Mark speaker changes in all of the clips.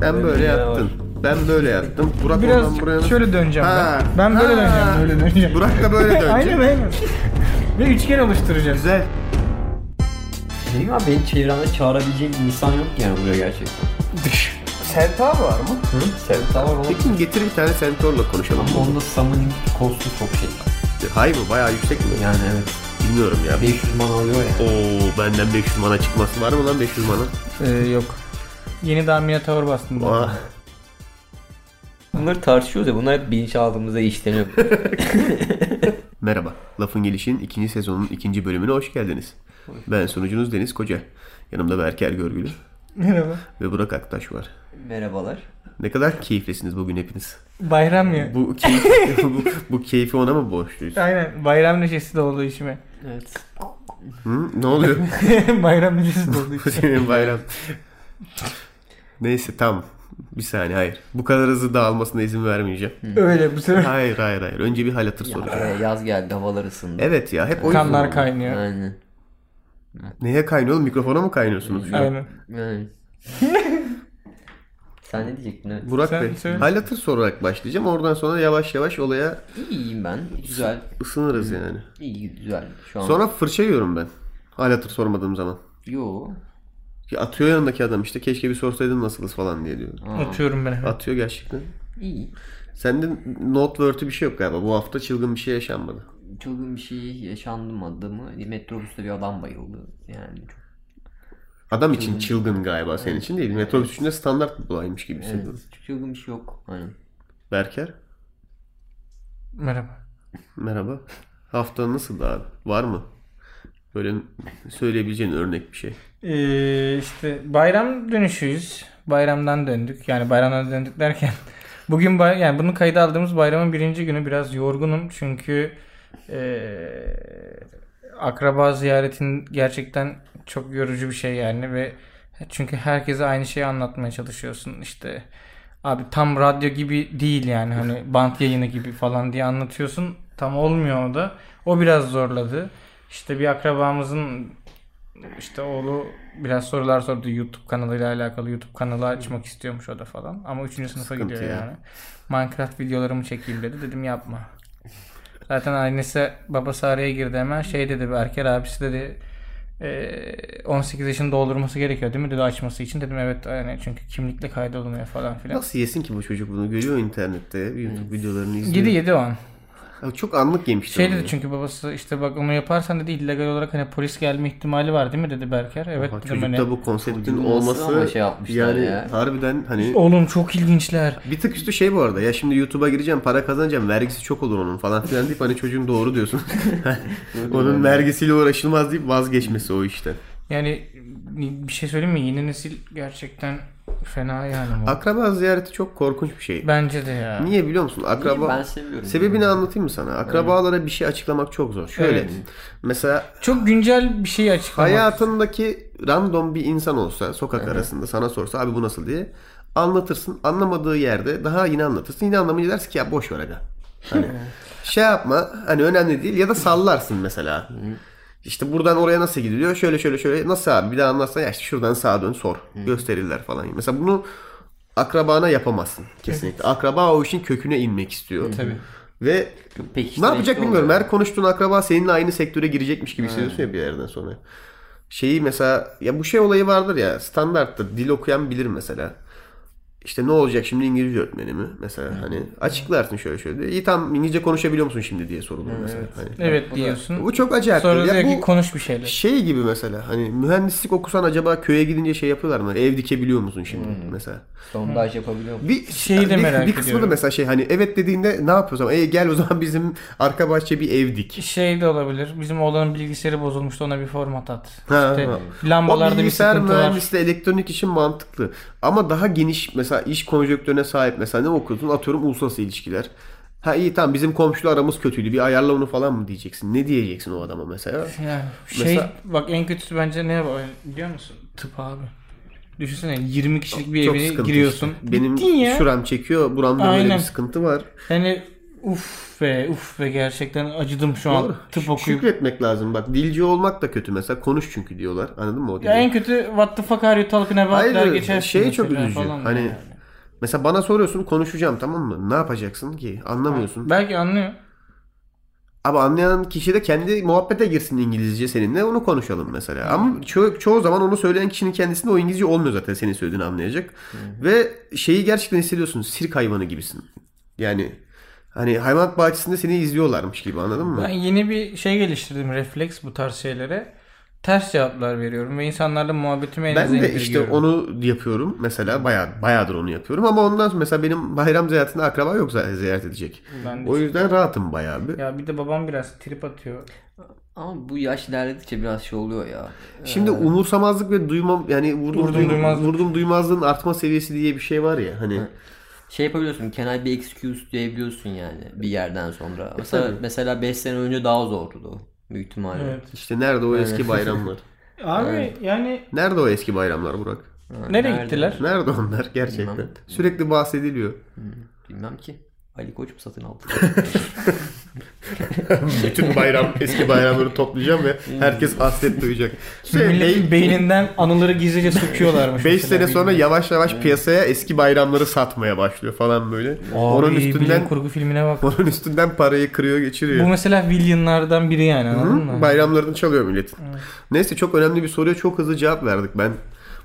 Speaker 1: Ben böyle
Speaker 2: Böyle
Speaker 1: yattın. Ben böyle yattım. Burak
Speaker 3: Biraz
Speaker 1: oradan buraya nasıl-
Speaker 3: şöyle döneceğim
Speaker 1: Ha.
Speaker 3: ben. Ben böyle
Speaker 1: Ha.
Speaker 3: döneceğim, böyle döneceğim.
Speaker 1: Burak da böyle dönecek.
Speaker 3: aynen aynen. Ve üçgen oluşturacağız.
Speaker 1: Güzel.
Speaker 2: Benim abi benim çevremde çağırabileceğim insan yok yani buraya gerçekten.
Speaker 1: Sentar var mı?
Speaker 2: Hı? Sevda var oğlum.
Speaker 1: Peki getir bir tane sentorla konuşalım.
Speaker 2: Ama onda summoning costu çok şey.
Speaker 1: Hay mı? Bayağı yüksek mi?
Speaker 2: Yani evet.
Speaker 1: Bilmiyorum ya.
Speaker 2: 500 man alıyor ya.
Speaker 1: Oo benden 500 mana çıkması var mı lan 500 mana?
Speaker 3: Ee, yok. Yeni daha Minotaur bastım. ben.
Speaker 1: Aa,
Speaker 2: Bunları tartışıyoruz ya bunlar hep bilinçaltımızda işleniyor.
Speaker 1: merhaba. Lafın Geliş'in ikinci sezonun ikinci bölümüne hoş geldiniz. Ben sunucunuz Deniz Koca. Yanımda Berker Görgülü
Speaker 3: Merhaba.
Speaker 1: ve Burak Aktaş var.
Speaker 2: Merhabalar.
Speaker 1: Ne kadar keyiflisiniz bugün hepiniz.
Speaker 3: Bayram ya.
Speaker 1: Bu, keyif, bu, bu keyfi ona mı borçluyuz?
Speaker 3: Aynen bayram neşesi doldu içime.
Speaker 2: Evet.
Speaker 1: Hı? Ne oluyor?
Speaker 3: bayram neşesi doldu
Speaker 1: Bu
Speaker 3: içime.
Speaker 1: senin bayram. Neyse tamam. Bir saniye hayır. Bu kadar hızlı dağılmasına izin vermeyeceğim.
Speaker 3: Öyle bu sefer.
Speaker 1: Hayır hayır hayır. Önce bir hal hatır soracağım.
Speaker 2: Ee, yaz geldi havalar ısındı.
Speaker 1: Evet ya hep o yüzden.
Speaker 3: Kanlar kaynıyor.
Speaker 2: Aynen.
Speaker 1: Neye kaynıyor oğlum? Mikrofona mı kaynıyorsunuz? şu an?
Speaker 3: Aynen.
Speaker 2: Aynen. Sen ne diyecektin? Evet.
Speaker 1: Burak
Speaker 3: Sen
Speaker 1: Bey,
Speaker 3: söyle.
Speaker 1: hal hatır sorarak başlayacağım. Oradan sonra yavaş yavaş olaya
Speaker 2: İyiyim ben. Güzel.
Speaker 1: ısınırız yani.
Speaker 2: İyi güzel. Şu an.
Speaker 1: Sonra fırça yiyorum ben. Hal hatır sormadığım zaman.
Speaker 2: Yo.
Speaker 1: Ya atıyor yanındaki adam işte keşke bir sorsaydın nasılız falan diye diyor.
Speaker 2: Aa,
Speaker 3: Atıyorum ben hemen.
Speaker 1: Atıyor gerçekten.
Speaker 2: İyi.
Speaker 1: Sende not word'ü bir şey yok galiba. Bu hafta çılgın bir şey yaşanmadı.
Speaker 2: Çılgın bir şey yaşandı mı adı mı? Metrobüste bir adam bayıldı. Yani çok
Speaker 1: Adam için çılgın galiba senin için değil. Metrobüs içinde standart bir olaymış gibi hissediyorum.
Speaker 2: evet, çılgın bir şey yok. Aynen.
Speaker 1: Berker
Speaker 3: Merhaba.
Speaker 1: merhaba. Hafta nasıl abi? Var mı? Böyle söyleyebileceğin örnek bir şey.
Speaker 3: Ee, işte bayram dönüşüyüz. Bayramdan döndük. Yani bayramdan döndük derken bugün bay- yani bunu kayda aldığımız bayramın birinci günü biraz yorgunum çünkü ee, akraba ziyaretin gerçekten çok yorucu bir şey yani ve çünkü herkese aynı şeyi anlatmaya çalışıyorsun işte abi tam radyo gibi değil yani hani bant yayını gibi falan diye anlatıyorsun tam olmuyor o da o biraz zorladı işte bir akrabamızın işte oğlu biraz sorular sordu YouTube kanalıyla alakalı YouTube kanalı açmak istiyormuş o da falan ama 3. sınıfa
Speaker 1: Sıkıntı
Speaker 3: gidiyor
Speaker 1: ya.
Speaker 3: yani Minecraft videolarımı çekeyim dedi dedim yapma Zaten annesi babası araya girdi hemen şey dedi Berker abisi dedi "Ee, 18 yaşını doldurması gerekiyor değil mi dedi açması için dedim evet yani çünkü kimlikle kaydolunuyor falan filan.
Speaker 1: Nasıl yesin ki bu çocuk bunu? Görüyor internette. YouTube videolarını izliyor.
Speaker 3: Yedi yedi o an.
Speaker 1: Ya Çok anlık yemiştir.
Speaker 3: Şey
Speaker 1: onu
Speaker 3: dedi
Speaker 1: ya.
Speaker 3: çünkü babası işte bak onu yaparsan dedi illegal olarak hani polis gelme ihtimali var değil mi dedi Berker. Evet
Speaker 1: Ha,
Speaker 3: dedim hani.
Speaker 1: çocukta bu konseptin
Speaker 2: Çocuğun
Speaker 1: olması
Speaker 2: nasıl ama şey yapmışlar
Speaker 1: yani
Speaker 2: ya.
Speaker 1: harbiden hani
Speaker 3: Oğlum çok ilginçler.
Speaker 1: bir tık üstü şey bu arada ya şimdi YouTube'a gireceğim para kazanacağım vergisi çok olur onun falan filan deyip hani çocuğum doğru diyorsun. onun vergisiyle uğraşılmaz deyip vazgeçmesi o işte.
Speaker 3: Yani bir şey söyleyeyim mi? Yeni nesil gerçekten fena yani. bu.
Speaker 1: Akraba ziyareti çok korkunç bir şey.
Speaker 3: Bence de ya.
Speaker 1: Niye biliyor musun? Akraba
Speaker 2: ben seviyorum.
Speaker 1: Sebebini anlatayım mı sana? Akrabalara bir şey açıklamak çok zor. Şöyle.
Speaker 3: Evet.
Speaker 1: Mesela
Speaker 3: Çok güncel bir şey açıklamak.
Speaker 1: Hayatındaki random bir insan olsa sokak arasında sana sorsa abi bu nasıl diye anlatırsın. Anlamadığı yerde daha yine anlatırsın. Yine anlamayınca dersin ki ya boş ver aga. Hani şey yapma hani önemli değil ya da sallarsın mesela. İşte buradan oraya nasıl gidiliyor? Şöyle şöyle şöyle. Nasıl abi? Bir daha anlatsana. Ya işte şuradan sağa dön sor. Gösterirler falan. Mesela bunu akrabana yapamazsın kesinlikle. Akraba o işin köküne inmek istiyor.
Speaker 3: Tabii.
Speaker 1: Ve
Speaker 2: Peki,
Speaker 1: ne yapacak bilmiyorum. Her konuştuğun akraba seninle aynı sektöre girecekmiş gibi hissediyorsun ya bir yerden sonra. Şeyi mesela ya bu şey olayı vardır ya standarttır. Dil okuyan bilir mesela. İşte ne olacak şimdi İngilizce öğretmeni mi? Mesela hani açıklarsın şöyle şöyle. diye. İyi tam İngilizce konuşabiliyor musun şimdi diye soruluyor mesela. Hani.
Speaker 3: Evet diyorsun.
Speaker 1: Bu çok acayip.
Speaker 3: Sonra
Speaker 1: Ya
Speaker 3: diyor ki
Speaker 1: bu
Speaker 3: konuş bir şeyler.
Speaker 1: şey gibi mesela hani mühendislik okusan acaba köye gidince şey yapıyorlar mı? Ev dikebiliyor musun şimdi mesela?
Speaker 2: Sondaj yapabiliyor musun?
Speaker 1: Bir
Speaker 3: Şeyi de
Speaker 1: bir,
Speaker 3: merak
Speaker 1: bir kısmı da
Speaker 3: ediyorum.
Speaker 1: mesela şey hani evet dediğinde ne yapıyoruz ama e, gel o zaman bizim arka bahçe bir ev dik.
Speaker 3: Şey de olabilir. Bizim oğlanın bilgisayarı bozulmuştu ona bir format at.
Speaker 1: Ha,
Speaker 3: işte
Speaker 1: ha. O
Speaker 3: lambalarda bir
Speaker 1: bilgisayar
Speaker 3: sıkıntı var.
Speaker 1: mühendisliği elektronik işin mantıklı. Ama daha geniş mesela iş konjonktürüne sahip mesela ne okuyorsun atıyorum uluslararası ilişkiler. Ha iyi tamam bizim komşulu aramız kötüydü bir ayarla onu falan mı diyeceksin? Ne diyeceksin o adama mesela?
Speaker 3: Yani şey
Speaker 1: Mesela-
Speaker 3: bak en kötüsü bence ne var biliyor musun? Tıp abi. Düşünsene 20 kişilik bir
Speaker 1: Çok
Speaker 3: evine
Speaker 1: sıkıntı
Speaker 3: giriyorsun.
Speaker 1: işte. Benim
Speaker 3: Bittin ya.
Speaker 1: şuram çekiyor buramda böyle
Speaker 3: Aynen.
Speaker 1: bir sıkıntı var.
Speaker 3: Yani uf be uf be gerçekten acıdım şu
Speaker 1: Doğru.
Speaker 3: an tıp okuyup.
Speaker 1: Şükretmek lazım bak dilci olmak da kötü mesela konuş çünkü diyorlar anladın mı o
Speaker 3: Ya
Speaker 1: dili?
Speaker 3: en kötü what the fuck are you talking about der
Speaker 1: Hayır
Speaker 3: geçersin
Speaker 1: şey çok
Speaker 3: mesela
Speaker 1: üzücü.
Speaker 3: falan
Speaker 1: Hani
Speaker 3: yani.
Speaker 1: Mesela bana soruyorsun konuşacağım tamam mı? Ne yapacaksın ki? Anlamıyorsun.
Speaker 3: Belki anlıyor.
Speaker 1: Abi anlayan kişi de kendi muhabbete girsin İngilizce seninle onu konuşalım mesela. Ama
Speaker 3: Hmm.
Speaker 1: ço- çoğu zaman onu söyleyen kişinin kendisinde o İngilizce olmuyor zaten senin söylediğini anlayacak.
Speaker 3: Hmm.
Speaker 1: Ve şeyi gerçekten hissediyorsun sirk hayvanı gibisin. Yani hani hayvanat bahçesinde seni izliyorlarmış gibi anladın mı?
Speaker 3: Ben yeni bir şey geliştirdim refleks bu tarz şeylere. Ters cevaplar veriyorum ve insanlarla muhabbetimi en
Speaker 1: Ben
Speaker 3: aza
Speaker 1: de işte
Speaker 3: indirgiyorum.
Speaker 1: onu yapıyorum mesela bayağı bayağıdır onu yapıyorum ama ondan sonra mesela benim bayram ziyaretinde akraba yok zaten ziyaret edecek.
Speaker 3: Ben de-
Speaker 1: O yüzden rahatım bayağı bir.
Speaker 3: Hmm. Ya bir de babam biraz trip atıyor.
Speaker 2: Ama bu yaş ilerledikçe biraz şey oluyor ya.
Speaker 1: Şimdi umursamazlık ve duymam yani vurdum,
Speaker 3: Vurdum
Speaker 1: duy-
Speaker 3: duymazlık.
Speaker 1: vurdum duymazlığın artma seviyesi diye bir şey var ya hani.
Speaker 4: Şey yapabiliyorsun. Can I be excused diyebiliyorsun yani bir yerden
Speaker 1: E,
Speaker 4: sonra. Mesela mesela 5 sene önce daha zordu o büyük ihtimalle.
Speaker 3: Evet.
Speaker 1: İşte nerede o eski bayramlar?
Speaker 3: Abi yani
Speaker 1: Nerede o eski bayramlar Burak?
Speaker 3: nereye
Speaker 4: nerede?
Speaker 3: gittiler?
Speaker 1: Nerede onlar gerçekten?
Speaker 4: Bilmem.
Speaker 1: Sürekli bahsediliyor.
Speaker 4: Bilmem ki. Ali Koç mu satın aldı?
Speaker 1: Bütün bayram eski bayramları toplayacağım ve herkes hasret duyacak. Şey,
Speaker 3: Milletin beyninden anıları gizlice sokuyorlarmış.
Speaker 1: 5
Speaker 3: mesela,
Speaker 1: sene sonra
Speaker 3: bilmiyorum.
Speaker 1: yavaş yavaş piyasaya eski bayramları satmaya başlıyor falan böyle.
Speaker 3: Abi,
Speaker 1: onun
Speaker 3: bilim
Speaker 1: üstünden
Speaker 3: kurgu filmine bak.
Speaker 1: onun üstünden parayı kırıyor,
Speaker 3: Bu
Speaker 1: geçiriyor.
Speaker 3: mesela villainlardan biri yani anladın
Speaker 1: Hı?
Speaker 3: mı?
Speaker 1: Bayramlarını çalıyor milletin. Neyse çok önemli bir soruya çok hızlı cevap verdik. Ben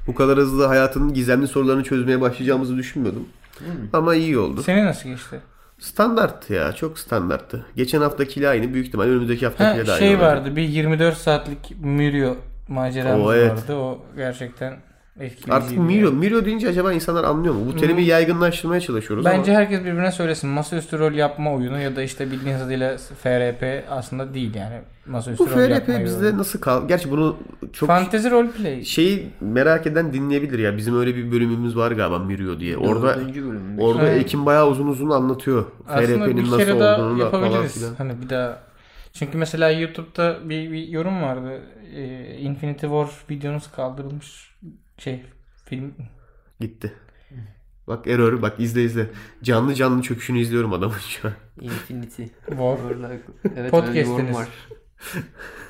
Speaker 1: bu kadar hızlı hayatın gizemli sorularını çözmeye başlayacağımızı düşünmüyordum. Ama iyi oldu.
Speaker 3: Seni nasıl geçti?
Speaker 1: Standart ya çok standarttı. Geçen haftakiyle aynı büyük ihtimalle önümüzdeki haftakiyle
Speaker 3: Ha,
Speaker 1: de aynı.
Speaker 3: şey
Speaker 1: olacak.
Speaker 3: vardı bir 24 saatlik Mirio maceramız
Speaker 1: Oo, evet.
Speaker 3: vardı. O gerçekten etkileyiciydi.
Speaker 1: Artık
Speaker 3: yani.
Speaker 1: Miro, Miro deyince acaba insanlar anlıyor mu? Bu terimi yaygınlaştırmaya çalışıyoruz
Speaker 3: Hmm. Bence
Speaker 1: ama
Speaker 3: herkes birbirine söylesin. Masaüstü rol yapma oyunu ya da işte bildiğiniz adıyla FRP aslında değil yani. Masaüstü
Speaker 1: bu
Speaker 3: rol yapma
Speaker 1: FRP bizde
Speaker 3: oyunu.
Speaker 1: nasıl kal? Gerçi bunu çok
Speaker 3: Fantezi roleplay.
Speaker 1: şeyi merak eden dinleyebilir ya. Bizim öyle bir bölümümüz var galiba Miro diye. Orada
Speaker 4: Dördüncü bölüm.
Speaker 1: orada
Speaker 3: Evet.
Speaker 1: Ekim bayağı uzun uzun anlatıyor.
Speaker 3: Aslında
Speaker 1: FRP'nin
Speaker 3: bir
Speaker 1: nasıl
Speaker 3: kere daha
Speaker 1: olduğunu da falan
Speaker 3: yapabiliriz.
Speaker 1: filan.
Speaker 3: Hani bir daha. Çünkü mesela YouTube'da bir, bir yorum vardı. Ee, Infinity War videonuz kaldırılmış şey film.
Speaker 1: Gitti. Bak error bak izle izle. Canlı canlı çöküşünü izliyorum adamın şu an.
Speaker 4: Infinity.
Speaker 3: War
Speaker 4: Orada- evet, öyle bir yorum
Speaker 3: Podcast'iniz.
Speaker 4: var.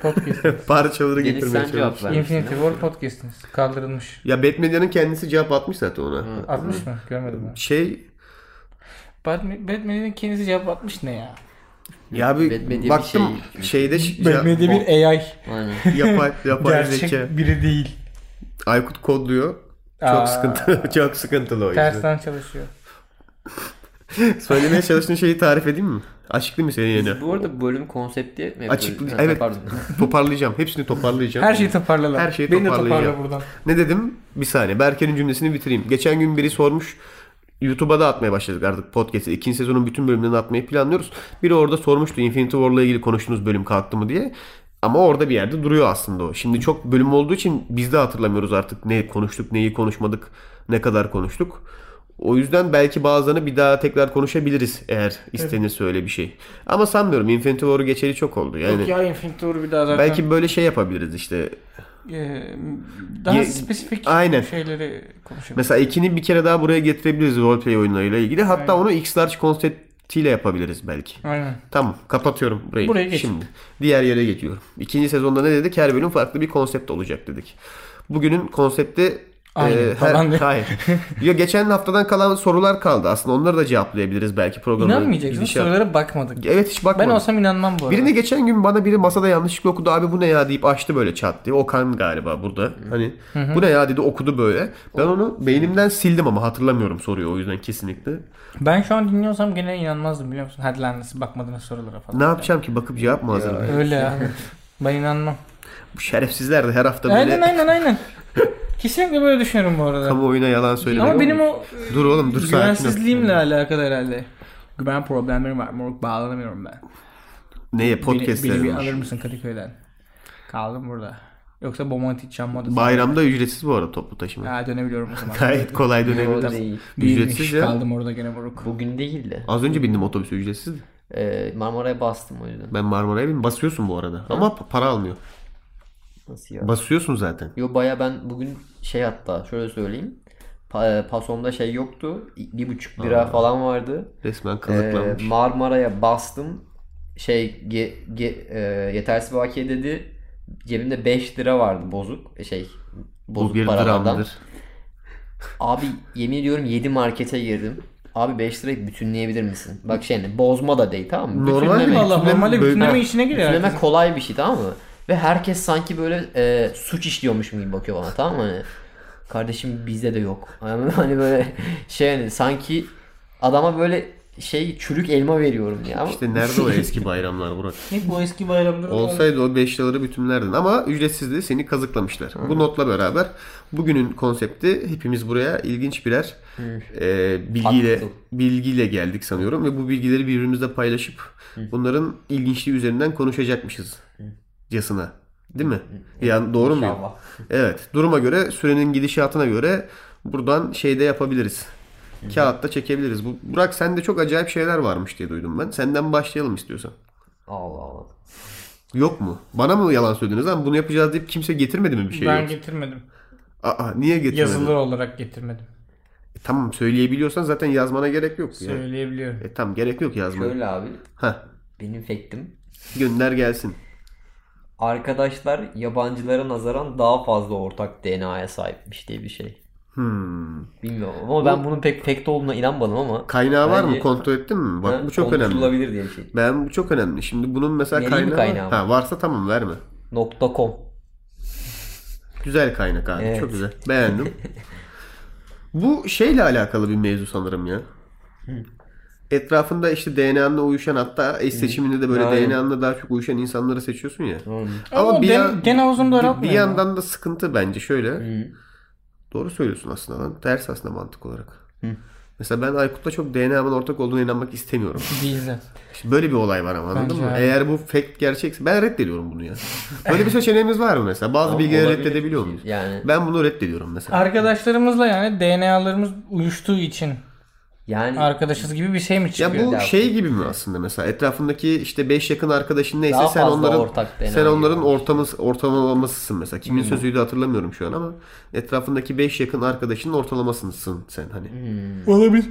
Speaker 3: Podcast'iniz.
Speaker 1: Parçaları
Speaker 4: Deniz,
Speaker 1: getirmeye
Speaker 4: sen cevap
Speaker 1: çalışıyorum.
Speaker 4: ver.
Speaker 3: Infinity War podcast'iniz. Kaldırılmış.
Speaker 1: Ya Batman'in kendisi cevap atmış zaten ona.
Speaker 3: Atmış mı? Görmedim ben.
Speaker 1: Şey
Speaker 3: Batman, Batman'in kendisi cevap atmış ne ya?
Speaker 1: ya bir
Speaker 4: Batman diye bir
Speaker 1: baktım
Speaker 4: şey-
Speaker 1: şeyde ş-
Speaker 3: Batman'de
Speaker 1: ya-
Speaker 3: bir AI.
Speaker 4: Aynen.
Speaker 1: yapay, yapay zeka.
Speaker 3: Gerçek biri değil.
Speaker 1: Aykut kodluyor. Çok
Speaker 3: Aa.
Speaker 1: sıkıntı, çok sıkıntılı o yüzden.
Speaker 3: Tersten çalışıyor.
Speaker 1: Söylemeye çalıştığın şeyi tarif edeyim mi? Açıklayayım mı senin yerine?
Speaker 4: Biz bu arada bölüm konsepti mi yapıyoruz?
Speaker 1: Açık,
Speaker 4: Ha,
Speaker 1: evet.
Speaker 4: Pardon.
Speaker 1: toparlayacağım. Hepsini toparlayacağım.
Speaker 3: Her şeyi toparlalar.
Speaker 1: Her şeyi
Speaker 3: Beni de
Speaker 1: toparlayacağım.
Speaker 3: toparla buradan.
Speaker 1: Ne dedim? Bir saniye. Berker'in cümlesini bitireyim. Geçen gün biri sormuş. YouTube'a da atmaya başladık artık podcast'i. İkinci sezonun bütün bölümlerini atmayı planlıyoruz. Biri orada sormuştu Infinity War'la ilgili konuştuğunuz bölüm kalktı mı diye. Ama orada bir yerde duruyor aslında o. Şimdi çok bölüm olduğu için biz de hatırlamıyoruz artık ne konuştuk, neyi konuşmadık, ne kadar konuştuk. O yüzden belki bazılarını bir daha tekrar konuşabiliriz eğer istenirse öyle bir şey. Ama sanmıyorum Infinity War'u geçeli çok oldu. Yani
Speaker 3: Yok ya Infinity War'u bir daha zaten.
Speaker 1: belki böyle şey yapabiliriz işte.
Speaker 3: Ee, daha
Speaker 1: Ye-
Speaker 3: spesifik
Speaker 1: Aynen.
Speaker 3: şeyleri konuşalım.
Speaker 1: Mesela ekini bir kere daha buraya getirebiliriz roleplay oyunlarıyla ilgili. Hatta
Speaker 3: Aynen.
Speaker 1: onu X-Large konseptiyle yapabiliriz belki.
Speaker 3: Aynen.
Speaker 1: Tamam kapatıyorum burayı.
Speaker 3: Buraya geç.
Speaker 1: Şimdi diğer yere geçiyorum. İkinci sezonda ne dedik? Her bölüm farklı bir konsept olacak dedik. Bugünün konsepti e,
Speaker 3: Aynen,
Speaker 1: her,
Speaker 3: falan diyor.
Speaker 1: hayır. ya geçen haftadan kalan sorular kaldı. Aslında onları da cevaplayabiliriz belki programda.
Speaker 3: İnanmayacaksın. Sorulara bakmadık.
Speaker 1: Evet hiç
Speaker 3: Ben
Speaker 1: bakmadım.
Speaker 3: olsam inanmam bu arada.
Speaker 1: Birine geçen gün bana biri masada yanlışlıkla okudu abi bu ne ya deyip açtı böyle çat diye. Okan galiba burada. Hani bu ne ya dedi okudu böyle. Ben onu beynimden sildim ama hatırlamıyorum soruyu o yüzden kesinlikle.
Speaker 3: Ben şu an dinliyorsam gene inanmazdım biliyor musun? Hadi lan nasıl bakmadınız sorulara falan.
Speaker 1: Ne yapacağım ki bakıp cevap mı hazırlayayım?
Speaker 3: Öyle ya. ben inanmam.
Speaker 1: Bu şerefsizler de her hafta böyle
Speaker 3: Aynen aynen aynen. Kesinlikle böyle düşünüyorum bu arada.
Speaker 1: kamuoyuna yalan söylüyor.
Speaker 3: Ama benim o
Speaker 1: Dur oğlum dur sakin ol.
Speaker 3: güvensizliğimle alakalı herhalde. Güven problemlerim var. Moruk bağlanamıyorum ben.
Speaker 1: Neye
Speaker 3: Beni, beni bir
Speaker 1: podcastlerim var.
Speaker 3: alır mısın Kadıköy'den? Kaldım burada. Yoksa Bomonti Çammoda.
Speaker 1: Bayramda ücretsiz bu arada toplu taşıma.
Speaker 3: Ha dönebiliyorum o zaman.
Speaker 1: Gayet kolay
Speaker 4: Yo,
Speaker 1: dönebilir.
Speaker 4: değil.
Speaker 1: Ücretsiz
Speaker 3: Ücretsiz
Speaker 1: ya.
Speaker 3: Kaldım orada gene moruk.
Speaker 4: Bugün değil de.
Speaker 1: Az önce bindim otobüse ücretsizdi.
Speaker 4: Ee, Marmara'ya bastım o yüzden.
Speaker 1: Ben Marmara'ya bindim. Basıyorsun bu arada. Ama pa- para almıyor.
Speaker 4: Nasıl ya?
Speaker 1: Basıyorsun zaten.
Speaker 4: Yo baya ben bugün şey hatta şöyle söyleyeyim. Pa- e, pasomda şey yoktu. i- Bir buçuk lira falan vardı.
Speaker 1: Resmen
Speaker 4: Ee,
Speaker 1: kazıklanmış.
Speaker 4: Marmara'ya bastım. Şey ge- ge- e, yetersiz bakiye dedi. Cebimde 5 lira vardı bozuk. E, Şey
Speaker 1: bu
Speaker 4: bozuk
Speaker 1: bir
Speaker 4: paralardan.
Speaker 1: dramdır.
Speaker 4: Abi yemin ediyorum 7 markete girdim. Abi 5 lirayı bütünleyebilir misin? Bak şey yani bozma da değil tamam mı?
Speaker 1: Normal
Speaker 4: Bütünleme.
Speaker 1: mi?
Speaker 3: Valla
Speaker 1: Bütünleme
Speaker 3: normalde
Speaker 1: böyle-
Speaker 3: bütünleme
Speaker 1: Ha,
Speaker 3: işine giriyor.
Speaker 4: Bütünleme
Speaker 3: herkes.
Speaker 4: kolay bir şey tamam mı? Ve herkes sanki böyle e, suç işliyormuşum gibi bakıyor bana tamam mı? Hani, kardeşim bizde de yok. Yani hani böyle şey hani sanki adama böyle şey çürük elma veriyorum ya.
Speaker 1: İşte nerede o eski bayramlar Burak?
Speaker 3: Ne bu eski bayramda?
Speaker 1: Olsaydı o 5 liraları bütünlerdin ama ücretsizdi seni kazıklamışlar. Bu notla beraber bugünün konsepti hepimiz buraya ilginç birer e, bilgiyle
Speaker 4: Akıl.
Speaker 1: bilgiyle geldik sanıyorum ve bu bilgileri birbirimizle paylaşıp bunların ilginçliği üzerinden konuşacakmışız casına. Değil mi? Yani doğru mu?
Speaker 2: İnşallah.
Speaker 1: Evet. Duruma göre sürenin gidişatına göre buradan şeyde yapabiliriz. Kağıtta çekebiliriz. Bu, Burak sende çok acayip şeyler varmış diye duydum ben. Senden başlayalım istiyorsan.
Speaker 4: Allah Allah.
Speaker 1: Yok mu? Bana mı yalan söylediniz lan? Bunu yapacağız deyip kimse getirmedi mi bir şey?
Speaker 3: ben
Speaker 1: yok?
Speaker 3: getirmedim.
Speaker 1: Aa, niye getirmedi?
Speaker 3: Yazılı olarak getirmedim.
Speaker 1: E, tamam söyleyebiliyorsan zaten yazmana gerek yok. Ya.
Speaker 3: Söyleyebiliyorum.
Speaker 1: E tamam gerek yok yazmaya.
Speaker 4: Şöyle abi
Speaker 1: Heh,
Speaker 4: benim fektim
Speaker 1: gönder gelsin.
Speaker 4: Arkadaşlar yabancılara nazaran daha fazla ortak DNA'ya sahipmiş diye bir şey.
Speaker 1: Hmm.
Speaker 4: Bilmiyorum ama ben bunun pek fake olduğuna inanmadım ama.
Speaker 1: Kaynağı var mı?
Speaker 4: Bence-
Speaker 1: Kontrol ettin mi? Bak
Speaker 4: Ha,
Speaker 1: bu çok önemli.
Speaker 4: Konuşulabilir diye bir şey.
Speaker 1: Ben bu çok önemli. Şimdi bunun mesela
Speaker 4: Vereyim mi
Speaker 1: kaynağı,
Speaker 4: kaynağı?
Speaker 1: ha, varsa tamam verme.
Speaker 4: Nokta com.
Speaker 1: Güzel kaynak abi.
Speaker 4: Evet.
Speaker 1: Çok güzel. Beğendim. Bu şeyle alakalı bir mevzu sanırım ya. Etrafında işte DNA'nla uyuşan hatta eş seçiminde de böyle
Speaker 4: Aynen.
Speaker 1: DNA'nla daha çok uyuşan insanları seçiyorsun ya.
Speaker 4: Tamam.
Speaker 1: Ama
Speaker 3: Ama
Speaker 1: bir
Speaker 3: gen-
Speaker 1: yan-
Speaker 3: gen havuzunu
Speaker 1: bir, bir
Speaker 3: daraltmıyor. mu?
Speaker 1: yandan da sıkıntı bence şöyle.
Speaker 4: Hı.
Speaker 1: Doğru söylüyorsun aslında lan. Ters aslında mantık olarak.
Speaker 4: Hı.
Speaker 1: Mesela ben Aykut'la çok DNA'mın ortak olduğuna inanmak istemiyorum.
Speaker 3: Değil zaten.
Speaker 1: İşte böyle bir olay var ama anladın
Speaker 3: Bence
Speaker 1: mı?
Speaker 3: abi.
Speaker 1: Eğer bu fake gerçekse ben reddediyorum bunu ya. Böyle bir seçeneğimiz var mı mesela? Bazı
Speaker 4: Ama
Speaker 1: bilgileri
Speaker 4: olabilir.
Speaker 1: reddedebiliyor muyuz?
Speaker 4: Yani
Speaker 1: Ben bunu reddediyorum mesela.
Speaker 3: Arkadaşlarımızla yani DNA'larımız uyuştuğu için
Speaker 4: yani
Speaker 3: arkadaşız gibi bir şey mi çıkıyor?
Speaker 1: Ya bu
Speaker 4: Daha-
Speaker 1: şey gibi mi aslında mesela etrafındaki işte 5 yakın arkadaşın neyse
Speaker 4: Daha
Speaker 1: sen
Speaker 4: fazla
Speaker 1: onların
Speaker 4: ortak DNA
Speaker 1: sen onların
Speaker 4: gibi. Hmm.
Speaker 1: ortamı ortalamasısın mesela. Kimin sözüydü hatırlamıyorum şu an ama etrafındaki 5 yakın arkadaşının ortalamasısın sen hani.
Speaker 4: Hmm.
Speaker 3: Olabilir.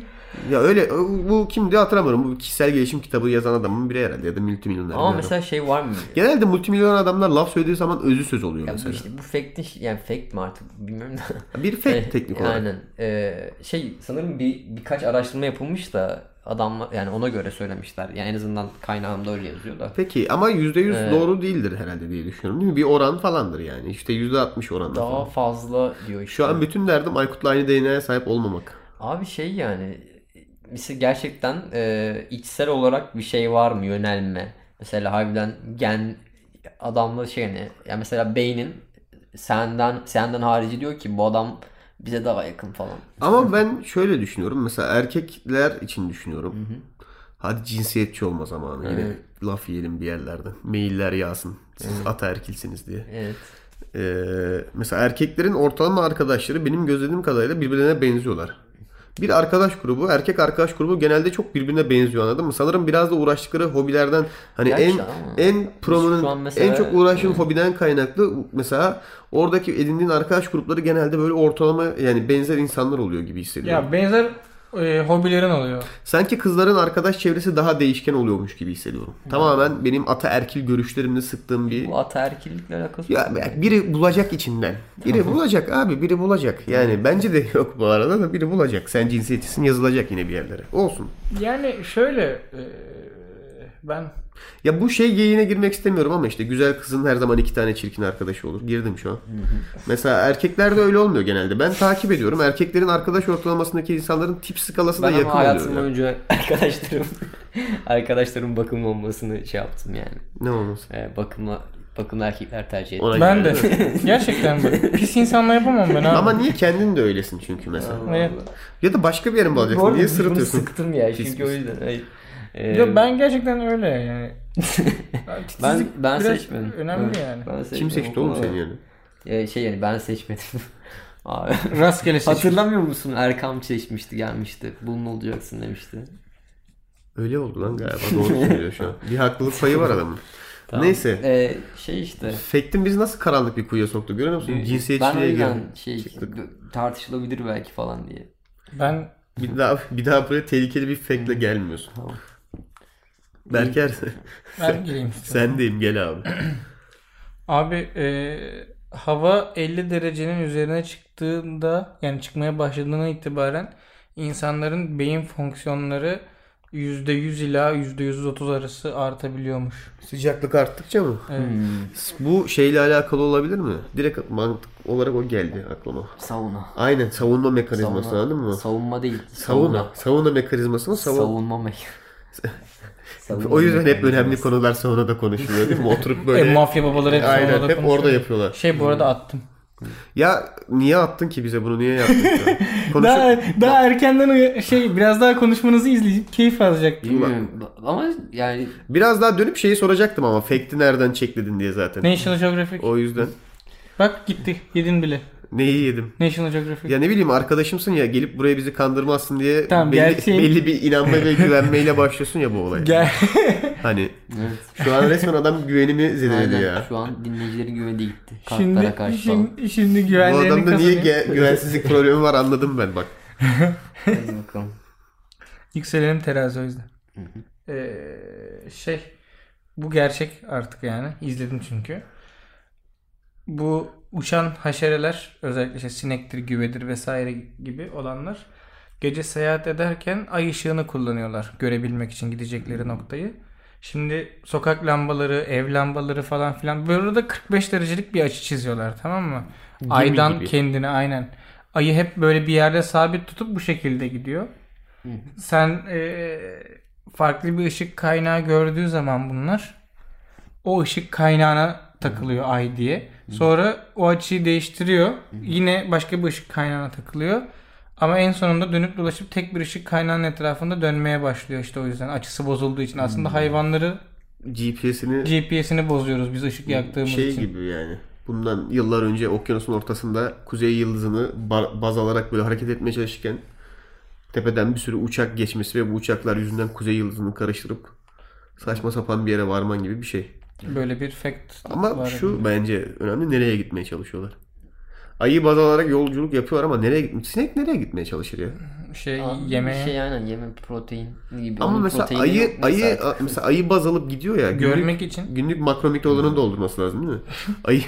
Speaker 1: Ya öyle bu kimdi hatırlamıyorum. Bu kişisel gelişim kitabı yazan adamın biri herhalde ya da multimilyoner.
Speaker 4: ama
Speaker 1: bilmiyorum.
Speaker 4: mesela şey var mı?
Speaker 1: Genelde multimilyoner adamlar laf söylediği zaman özü söz oluyor
Speaker 4: Ya bu
Speaker 1: mesela.
Speaker 4: işte bu fake'in yani fake mi artık bilmiyorum da. Şey,
Speaker 1: Bir
Speaker 4: Eh,
Speaker 1: fake teknik olarak.
Speaker 4: Aynen. Ee, şey sanırım bir birkaç araştırma yapılmış da adamlar yani ona göre söylemişler. Yani en azından kaynağımda öyle yazıyor da.
Speaker 1: Peki ama %100
Speaker 4: Evet.
Speaker 1: doğru değildir herhalde diye düşünüyorum değil mi? Bir oran falandır yani. İşte %60 oranla
Speaker 4: Daha
Speaker 1: falan.
Speaker 4: fazla diyor işte.
Speaker 1: Şu an bütün derdim Aykut'la aynı DNA'ya sahip olmamak.
Speaker 4: Abi şey yani mesela gerçekten e, içsel olarak bir şey var mı yönelme? Mesela harbiden gen adamla şey ne? Ya mesela beynin senden senden harici diyor ki bu adam bize daha yakın falan.
Speaker 1: Ama ben şöyle düşünüyorum. Mesela erkekler için düşünüyorum. Hadi cinsiyetçi olma zamanı. Yine laf yiyelim bir yerlerden. Mailler yağsın. Siz ataerkilsiniz diye.
Speaker 4: Evet.
Speaker 1: Ee, mesela erkeklerin ortalama arkadaşları benim gözlediğim kadarıyla birbirine benziyorlar. Bir arkadaş grubu, erkek arkadaş grubu genelde çok birbirine benziyor anladın mı? Sanırım biraz da uğraştıkları hobilerden hani
Speaker 4: Gerçi
Speaker 1: en
Speaker 4: ama
Speaker 1: en
Speaker 4: şu an
Speaker 1: prominent,
Speaker 4: mesela-
Speaker 1: en çok uğraştığın hobiden kaynaklı mesela oradaki edindiğin arkadaş grupları genelde böyle ortalama yani benzer insanlar oluyor gibi hissediyorum.
Speaker 3: Ya benzer e, hobilerin oluyor.
Speaker 1: Sanki kızların arkadaş çevresi daha değişken oluyormuş gibi hissediyorum. Tamamen benim ataerkil görüşlerimle sıktığım bir
Speaker 4: Bu ataerkillikle alakası
Speaker 1: ya
Speaker 4: yok.
Speaker 1: bak biri bulacak içinden. Biri bulacak abi biri bulacak. Yani bence de yok bu arada da biri bulacak. Sen cinsiyetçisin yazılacak yine bir yerlere. Olsun.
Speaker 3: Yani şöyle e, ben
Speaker 1: Ya bu şey geyiğine girmek istemiyorum ama işte güzel kızın her zaman iki tane çirkin arkadaşı olur. Girdim şu an. Mesela erkeklerde öyle olmuyor genelde. Ben takip ediyorum. Erkeklerin arkadaş ortalamasındaki insanların tip skalası da
Speaker 4: Ben
Speaker 1: yakın
Speaker 4: ama hayatım
Speaker 1: oluyor. ya.
Speaker 4: boyunca arkadaşlarım arkadaşlarım bakım olmasını şey yaptım yani.
Speaker 1: Ne olmasın.
Speaker 4: Ee, bakımla bakımlı erkekler tercih ettim.
Speaker 1: Ona
Speaker 3: ben
Speaker 1: göre
Speaker 3: de gerçekten bak, pis insanla yapamam ben abi.
Speaker 1: Ama niye kendin de öylesin çünkü mesela.
Speaker 3: Evet.
Speaker 1: Ya da başka bir yerin
Speaker 4: Bu
Speaker 1: bulacaksın.
Speaker 4: arada
Speaker 1: Niye
Speaker 4: biz bunu
Speaker 1: sırıtıyorsun?
Speaker 4: sıktım ya
Speaker 1: Pis
Speaker 4: çünkü
Speaker 1: pis.
Speaker 4: o yüzden. Hayır. Ee,
Speaker 3: Yo, ben gerçekten öyle yani.
Speaker 4: ben
Speaker 3: Titizlik
Speaker 4: ben
Speaker 3: biraz
Speaker 4: seçmedim.
Speaker 3: Önemli
Speaker 4: Evet,
Speaker 3: yani.
Speaker 4: ben seçmedim.
Speaker 1: Kim seçti oğlum seni yani?
Speaker 4: Ee, şey yani ben seçmedim. Abi.
Speaker 3: Rastgele seçim.
Speaker 4: Hatırlamıyor musun Erkam seçmişti gelmişti. Bunun olacaksın demişti.
Speaker 1: Öyle oldu lan galiba. Doğru söylüyor şu an. Bir haklılık payı var adamın. Neyse.
Speaker 4: Ee, şey işte.
Speaker 1: Fektin bizi nasıl karanlık bir kuyuya soktu görüyor musun?
Speaker 4: Ee, ben o
Speaker 1: Cinsiyetçiliğe
Speaker 4: yüzden
Speaker 1: girdi.
Speaker 4: şey tartışılabilir belki falan diye.
Speaker 3: Ben
Speaker 1: Bir daha, bir daha böyle tehlikeli bir fekle gelmiyorsun.
Speaker 4: Tamam.
Speaker 1: Berker
Speaker 3: ben gireyim.
Speaker 1: sendeyim gel abi.
Speaker 3: Abi eee, e, hava 50 derecenin üzerine çıktığında yani çıkmaya başladığına itibaren insanların beyin fonksiyonları %100 ila %130 arası artabiliyormuş.
Speaker 1: Sıcaklık arttıkça mı? Hmm.
Speaker 3: Evet.
Speaker 1: Bu şeyle alakalı olabilir mi? Direkt mantık olarak o geldi aklıma.
Speaker 4: Savunma.
Speaker 1: Aynen savunma mekanizması
Speaker 4: Savunma.
Speaker 1: anladın mı?
Speaker 4: Savunma değil.
Speaker 1: Savunma. Savunma mekanizmasını savun.
Speaker 4: Savunma mekanizması. Savunma
Speaker 1: O yüzden hep
Speaker 4: mekanizması.
Speaker 1: önemli konular savunada konuşuluyor değil mi? Oturup böyle.
Speaker 3: E, mafya babaları hep
Speaker 1: Aynen
Speaker 3: sonradan
Speaker 1: hep
Speaker 3: konuşuyor.
Speaker 1: orada yapıyorlar. Hmm.
Speaker 3: Şey bu arada attım.
Speaker 1: Ya niye attın ki bize bunu niye yaptın? ki? Konuşup-
Speaker 3: Daha, daha erkenden uya- şey biraz daha konuşmanızı izleyip keyif alacak.
Speaker 4: Bilmiyorum. Ama yani
Speaker 1: Biraz daha dönüp şeyi soracaktım ama fake'i nereden çekledin diye zaten.
Speaker 3: National Geographic.
Speaker 1: O yüzden
Speaker 3: Bak gitti. Yedin bile.
Speaker 1: neyi yedim?
Speaker 3: National Geographic.
Speaker 1: Ya ne bileyim arkadaşımsın ya gelip buraya bizi kandırmazsın diye
Speaker 3: Tamam,
Speaker 1: belli,
Speaker 3: gerçeğin-
Speaker 1: belli bir inanma ve güvenmeyle başlıyorsun ya bu olaya.
Speaker 3: Gel.
Speaker 1: Hani
Speaker 4: evet.
Speaker 1: şu an resmen adam güvenimi zedeledi
Speaker 4: Aynen.
Speaker 1: ya.
Speaker 4: Şu an dinleyicilerin güveni de gitti. Kartlara
Speaker 3: Şimdi,
Speaker 4: karşı falan.
Speaker 3: şimdi, şimdi
Speaker 1: Bu
Speaker 3: güvenlerini
Speaker 1: adamda niye
Speaker 3: kazanıyor.
Speaker 1: ge- güvensizlik problemi var anladım ben bak.
Speaker 4: Hadi bakalım.
Speaker 3: Yükselenim terazi o yüzden. Ee, şey bu gerçek artık yani. İzledim çünkü. Bu uçan haşereler özellikle işte sinektir, güvedir vesaire gibi olanlar gece seyahat ederken ay ışığını kullanıyorlar görebilmek için gidecekleri noktayı. Şimdi sokak lambaları, ev lambaları falan filan böyle de 45 derecelik bir açı çiziyorlar tamam mı? Aydan
Speaker 1: gibi.
Speaker 3: kendini aynen. Ayı hep böyle bir yerde sabit tutup bu şekilde gidiyor. Sen e, farklı bir ışık kaynağı gördüğü zaman bunlar o ışık kaynağına takılıyor ay diye. Sonra o açıyı değiştiriyor. Yine başka bir ışık kaynağına takılıyor. Ama en sonunda dönüp dolaşıp tek bir ışık kaynağının etrafında dönmeye başlıyor işte o yüzden. Açısı bozulduğu için.
Speaker 1: Hmm.
Speaker 3: Aslında hayvanları
Speaker 1: GPS'ini
Speaker 3: GPS'ini bozuyoruz biz ışık yaktığımız
Speaker 1: şey
Speaker 3: için.
Speaker 1: gibi yani. Bundan yıllar önce okyanusun ortasında kuzey yıldızını ba- baz alarak böyle hareket etmeye çalışırken tepeden bir sürü uçak geçmesi ve bu uçaklar yüzünden kuzey yıldızını karıştırıp saçma sapan bir yere varman gibi bir şey.
Speaker 3: Böyle bir fact
Speaker 1: Ama
Speaker 3: var.
Speaker 1: şu bence önemli nereye gitmeye çalışıyorlar. Ayı baz alarak yolculuk yapıyorlar ama nereye gitmeye Sinek nereye gitmeye çalışır ya?
Speaker 3: Şey
Speaker 4: Aa, bir
Speaker 3: yemeğe
Speaker 4: Şey aynen yeme protein gibi.
Speaker 1: Ama
Speaker 4: Onun
Speaker 1: mesela
Speaker 4: proteini
Speaker 1: ayı
Speaker 4: yok
Speaker 1: ayı
Speaker 4: mesela.
Speaker 1: a- mesela ayı baz alıp gidiyor ya. Günlük,
Speaker 3: görmek için.
Speaker 1: günlük makro mikrolarını doldurması lazım değil mi? Ayı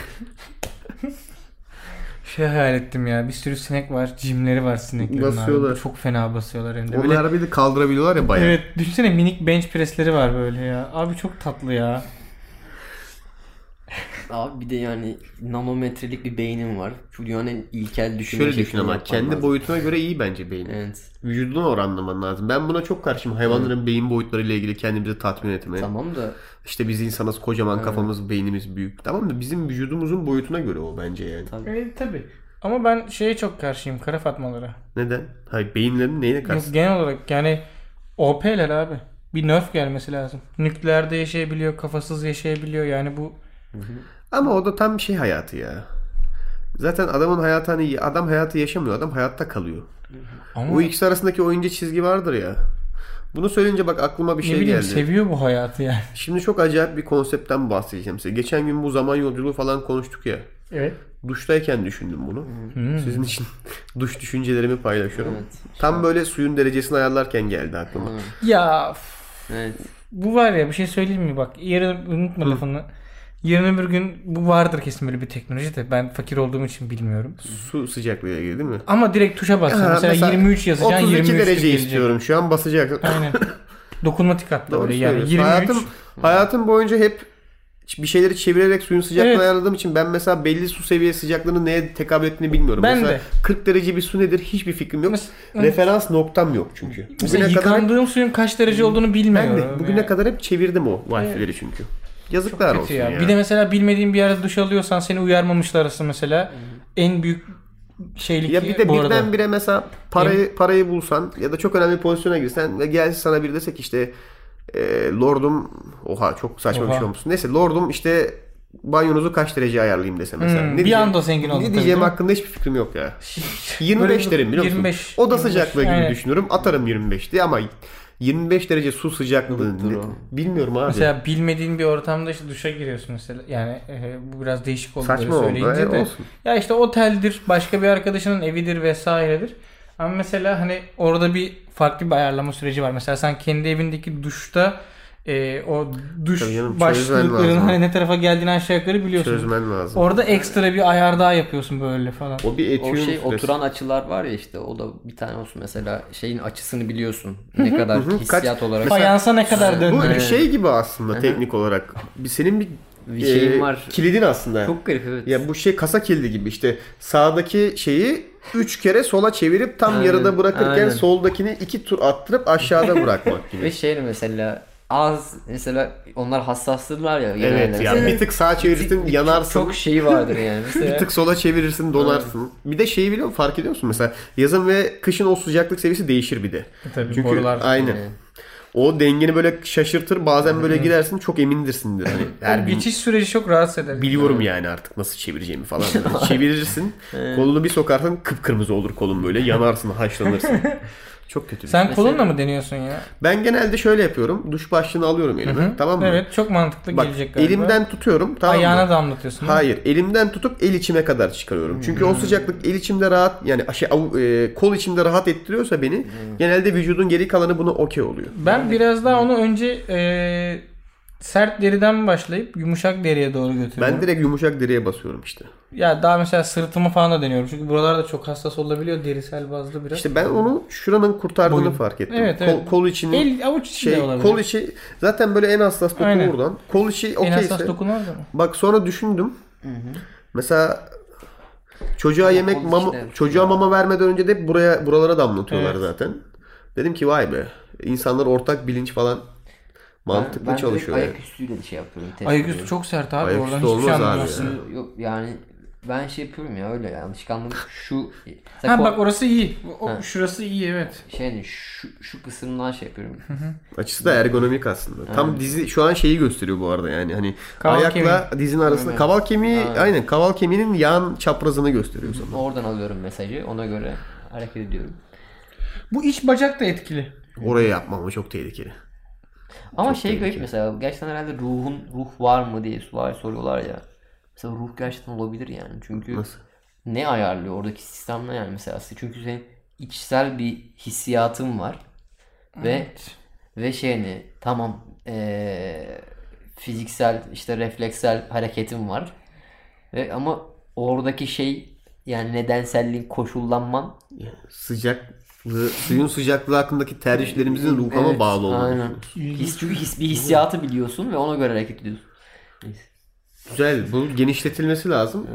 Speaker 3: Şey hayal ettim ya. Bir sürü sinek var. Cimleri var sineklerin abi.
Speaker 1: Basıyorlar.
Speaker 3: Çok fena basıyorlar hem de. Böyle-
Speaker 1: onlar bir de kaldırabiliyorlar ya bayağı.
Speaker 3: Evet düşünsene minik bench pressleri var böyle ya. Abi çok tatlı ya.
Speaker 4: Abi bir de yani nanometrelik bir beynim var. Şu dünyanın ilkel düşünme
Speaker 1: Şöyle düşün
Speaker 4: şeklini
Speaker 1: ama
Speaker 4: yapmam
Speaker 1: kendi
Speaker 4: lazım.
Speaker 1: boyutuna göre iyi bence beyni.
Speaker 4: Evet.
Speaker 1: Vücuduna oranlaman lazım. Ben buna çok karşıyım. Hayvanların beyin boyutlarıyla ilgili kendimizi tatmin etmeye.
Speaker 4: Tamam da
Speaker 1: İşte biz insanız kocaman kafamız, beynimiz büyük. Tamam da bizim vücudumuzun boyutuna göre o bence yani.
Speaker 3: Evet tabi. Ama ben şeye çok karşıyım kara fatmalara.
Speaker 1: Neden? Hayır beyinlerin neyine
Speaker 3: Yok,
Speaker 1: karşı?
Speaker 3: genel olarak yani OP'ler abi. Bir nerf gelmesi lazım. Nükleerde yaşayabiliyor, kafasız yaşayabiliyor. Yani bu
Speaker 1: Ama o da tam şey hayatı ya. Zaten adamın hayatı hani adam hayatı yaşamıyor. Adam hayatta kalıyor.
Speaker 3: ama
Speaker 1: Bu ikisi arasındaki o ince çizgi vardır ya. Bunu söyleyince bak aklıma bir
Speaker 3: ne
Speaker 1: şey
Speaker 3: bileyim
Speaker 1: geldi.
Speaker 3: seviyor bu hayatı yani.
Speaker 1: Şimdi çok acayip bir konseptten bahsedeceğim size. Geçen gün bu zaman yolculuğu falan konuştuk ya.
Speaker 3: Evet.
Speaker 1: Duştayken düşündüm bunu.
Speaker 3: Hmm.
Speaker 1: Sizin için duş düşüncelerimi paylaşıyorum.
Speaker 4: Evet.
Speaker 1: Tam böyle suyun derecesini ayarlarken geldi aklıma.
Speaker 3: Ya f-
Speaker 4: evet.
Speaker 3: bu var ya bir şey söyleyeyim mi bak. Yarın unutma lafını. Yarın öbür gün bu vardır kesin böyle bir teknoloji de ben fakir olduğum için bilmiyorum.
Speaker 1: Su sıcaklığı ilgili değil mi?
Speaker 3: Ama direkt tuşa basacaksın.
Speaker 1: Ha,
Speaker 3: mesela,
Speaker 1: mesela
Speaker 3: 23 yazacaksın
Speaker 1: 32
Speaker 3: 23 'te
Speaker 1: derece
Speaker 3: gelecek.
Speaker 1: istiyorum şu an basacaksın.
Speaker 3: Aynen. Dokunmatik hatta
Speaker 1: Doğru
Speaker 3: böyle yani Hmm.
Speaker 1: söylüyorsun.
Speaker 3: 23.
Speaker 1: Hayatım, hayatım boyunca hep bir şeyleri çevirerek suyun sıcaklığını
Speaker 3: Evet.
Speaker 1: ayarladığım için ben mesela belli su seviye sıcaklığının neye tekabül ettiğini bilmiyorum.
Speaker 3: Ben
Speaker 1: mesela
Speaker 3: de.
Speaker 1: 40 derece bir su nedir hiçbir fikrim yok.
Speaker 3: Mes-
Speaker 1: Referans noktam yok çünkü.
Speaker 3: Mesela
Speaker 1: Bugüne kadar hep,
Speaker 3: yıkandığım suyun kaç derece olduğunu
Speaker 1: ben
Speaker 3: bilmiyorum.
Speaker 1: de bugüne
Speaker 3: yani.
Speaker 1: kadar hep çevirdim o wifi'leri çünkü. Yazıklar
Speaker 3: Kötü
Speaker 1: olsun
Speaker 3: ya.
Speaker 1: ya.
Speaker 3: Bir de mesela bilmediğin bir yerde duş alıyorsan seni uyarmamışlar arası mesela. En büyük şeylik
Speaker 1: Ya bir de
Speaker 3: bu arada.
Speaker 1: birdenbire mesela parayı parayı bulsan ya da çok önemli bir pozisyona girsen ve gelsin sana bir desek işte e, lordum oha çok saçma bir
Speaker 3: Oha.
Speaker 1: şey olmuşsun. Neyse lordum işte banyonuzu kaç derece ayarlayayım dese mesela.
Speaker 3: Hmm,
Speaker 1: Ne
Speaker 3: bir
Speaker 1: diyeceğim-
Speaker 3: anda zengin oldun
Speaker 1: Ne
Speaker 3: tabii,
Speaker 1: diyeceğim
Speaker 3: değil mi?
Speaker 1: hakkında hiçbir fikrim yok ya. 25 derim biliyor musun?
Speaker 3: 25,
Speaker 1: Oda
Speaker 3: 25,
Speaker 1: sıcaklığı gibi
Speaker 3: aynen.
Speaker 1: düşünürüm. Atarım 25 diye ama 25 derece su sıcaklığı
Speaker 4: Yoktur
Speaker 1: ne-
Speaker 4: o.
Speaker 1: bilmiyorum abi.
Speaker 3: Mesela bilmediğin bir ortamda işte duşa giriyorsun mesela. Yani e, bu biraz değişik oldu
Speaker 1: Saçma oldu.
Speaker 3: böyle söyleyince
Speaker 1: E,
Speaker 3: de.
Speaker 1: olsun.
Speaker 3: Ya işte oteldir, başka bir arkadaşının evidir vesairedir. Ama mesela hani orada bir farklı bir ayarlama süreci var. Mesela sen kendi evindeki duşta e, o duş
Speaker 1: Tabii canım, çözmen
Speaker 3: başlıkların
Speaker 1: lazım.
Speaker 3: hani ne tarafa geldiğini aşağı yukarı biliyorsun.
Speaker 1: Çözmen lazım.
Speaker 3: Orada ekstra bir ayar daha yapıyorsun böyle falan.
Speaker 1: o bir
Speaker 4: O
Speaker 1: etüyün
Speaker 4: şey
Speaker 1: süresi.
Speaker 4: oturan açılar var ya işte o da bir tane olsun mesela şeyin açısını biliyorsun. Ne kadar hissiyat olarak.
Speaker 1: Mesela-
Speaker 3: Fayansa ne kadar
Speaker 1: Bu
Speaker 3: döndü?
Speaker 1: bir şey gibi aslında teknik olarak. Bir, senin bir,
Speaker 4: Bir şeyin
Speaker 1: e,
Speaker 4: var.
Speaker 1: kilidin aslında.
Speaker 4: Çok garip evet.
Speaker 1: Ya bu şey kasa kilidi gibi işte sağdaki şeyi 3 kere sola çevirip tam
Speaker 4: Aynen,
Speaker 1: yarıda bırakırken
Speaker 4: aynen.
Speaker 1: soldakini 2 tur attırıp aşağıda bırakmak
Speaker 4: Ve
Speaker 1: gibi.
Speaker 4: şey mesela az mesela onlar hassastırlar ya. genelde.
Speaker 1: evet ya
Speaker 4: Mesela
Speaker 1: bir tık sağa çevirirsin
Speaker 4: çok-
Speaker 1: yanarsın.
Speaker 4: Çok şeyi vardır yani. Mesela,
Speaker 1: bir tık sola çevirirsin donarsın. Bir de şeyi biliyor musun fark ediyor musun mesela yazın ve kışın o sıcaklık seviyesi değişir bir de.
Speaker 3: E Tabii
Speaker 1: Çünkü
Speaker 3: borular. e.
Speaker 1: aynı.
Speaker 4: Evet.
Speaker 1: O dengeni böyle şaşırtır bazen böyle girersin çok emindirsin Hani her
Speaker 3: O
Speaker 1: gün
Speaker 3: geçiş süreci çok rahatsız eder.
Speaker 1: biliyorum yani artık nasıl çevireceğimi falan. Böyle çevirirsin kolunu bir sokarsan kıpkırmızı olur kolun böyle yanarsın haşlanırsın. Çok kötü bir
Speaker 3: Sen kolunla mı deniyorsun ya?
Speaker 1: Ben genelde şöyle yapıyorum. Duş başlığını alıyorum elime. Tamam mı?
Speaker 3: Evet çok mantıklı
Speaker 1: Bak
Speaker 3: gelecek galiba.
Speaker 1: elimden tutuyorum. Tamam mı?
Speaker 3: Ayağına damlatıyorsun. değil mi?
Speaker 1: Hayır. Elimden tutup el içime kadar çıkarıyorum. Çünkü o sıcaklık el içimde rahat yani şey, av- e, kol içimde rahat ettiriyorsa beni genelde vücudun geri kalanı buna okey oluyor.
Speaker 3: Ben biraz daha onu önce e, sert deriden başlayıp yumuşak deriye doğru götürüyorum.
Speaker 1: Ben direkt yumuşak direğe basıyorum işte.
Speaker 3: Ya daha mesela sırtıma falan da deniyorum. Çünkü buralarda çok hassas olabiliyor derisel bazlı biraz.
Speaker 1: İşte ben onu şuranın kurtardığını
Speaker 3: Boyun.
Speaker 1: fark ettim.
Speaker 3: Evet,
Speaker 1: Kol,
Speaker 3: evet.
Speaker 1: kol içinin
Speaker 3: El avuç içi de
Speaker 1: şey
Speaker 3: olabilir.
Speaker 1: kol içi zaten böyle en hassas doku
Speaker 3: Aynen.
Speaker 1: buradan. Kol içi
Speaker 3: en
Speaker 1: okeyse.
Speaker 3: hassas dokun orada mı?
Speaker 1: Bak sonra düşündüm. Mesela çocuğa yemek
Speaker 4: kol
Speaker 1: mama,
Speaker 4: işte.
Speaker 1: çocuğa mama vermeden önce de hep buraya buralara damlatıyorlar
Speaker 3: Evet.
Speaker 1: zaten. Dedim ki vay be. İnsanlar ortak bilinç falan mantıklı
Speaker 4: ben direkt
Speaker 1: çalışıyor. yani.
Speaker 4: Ayak üstüyle şey yapıyorum. test
Speaker 3: Ayaküstü
Speaker 4: ediyorum.
Speaker 3: çok sert abi.
Speaker 1: Ee, Ayaküstü
Speaker 3: Oradan hiçbir şey
Speaker 1: olmaz abi
Speaker 3: anlamıyorsun.
Speaker 1: ya.
Speaker 4: Yok yani ben şey yapıyorum ya öyle ya alışkanlığım şu mesela
Speaker 3: Ha
Speaker 4: kol-
Speaker 3: bak orası iyi. O, şurası iyi evet.
Speaker 4: şey şu, şu kısımdan şey yapıyorum.
Speaker 1: Açısı da ergonomik aslında. Tam dizi şu an şeyi gösteriyor bu arada yani hani
Speaker 3: Kaval
Speaker 1: ayakla dizin arasında kaval kemiği aynen kaval kemiğinin yan çaprazını gösteriyor sana.
Speaker 4: Oradan alıyorum mesajı ona göre hareket ediyorum.
Speaker 3: Bu iç bacak da etkili.
Speaker 1: Oraya yapmam o çok tehlikeli.
Speaker 4: Ama şey garip mesela gerçekten herhalde ruhun ruh var mı diye var soruyorlar ya. Mesela ruh gerçekten olabilir yani. Çünkü ne ayarlıyor oradaki sistem ne yani mesela çünkü senin içsel bir hissiyatın var. Ve ve şey hani tamam eee, fiziksel işte refleksel hareketin var. Ve ama oradaki şey yani nedenselliğin koşullanman
Speaker 1: Sıcaklığı, suyun sıcaklığı hakkındaki tercihlerimizin ruhama
Speaker 4: Evet,
Speaker 1: bağlı olduğunu
Speaker 4: Aynen.
Speaker 1: düşünüyorum.
Speaker 4: His, çünkü his, bir hissiyatı biliyorsun ve ona göre hareket ediyorsun. Neyse.
Speaker 1: Güzel. Bu genişletilmesi lazım.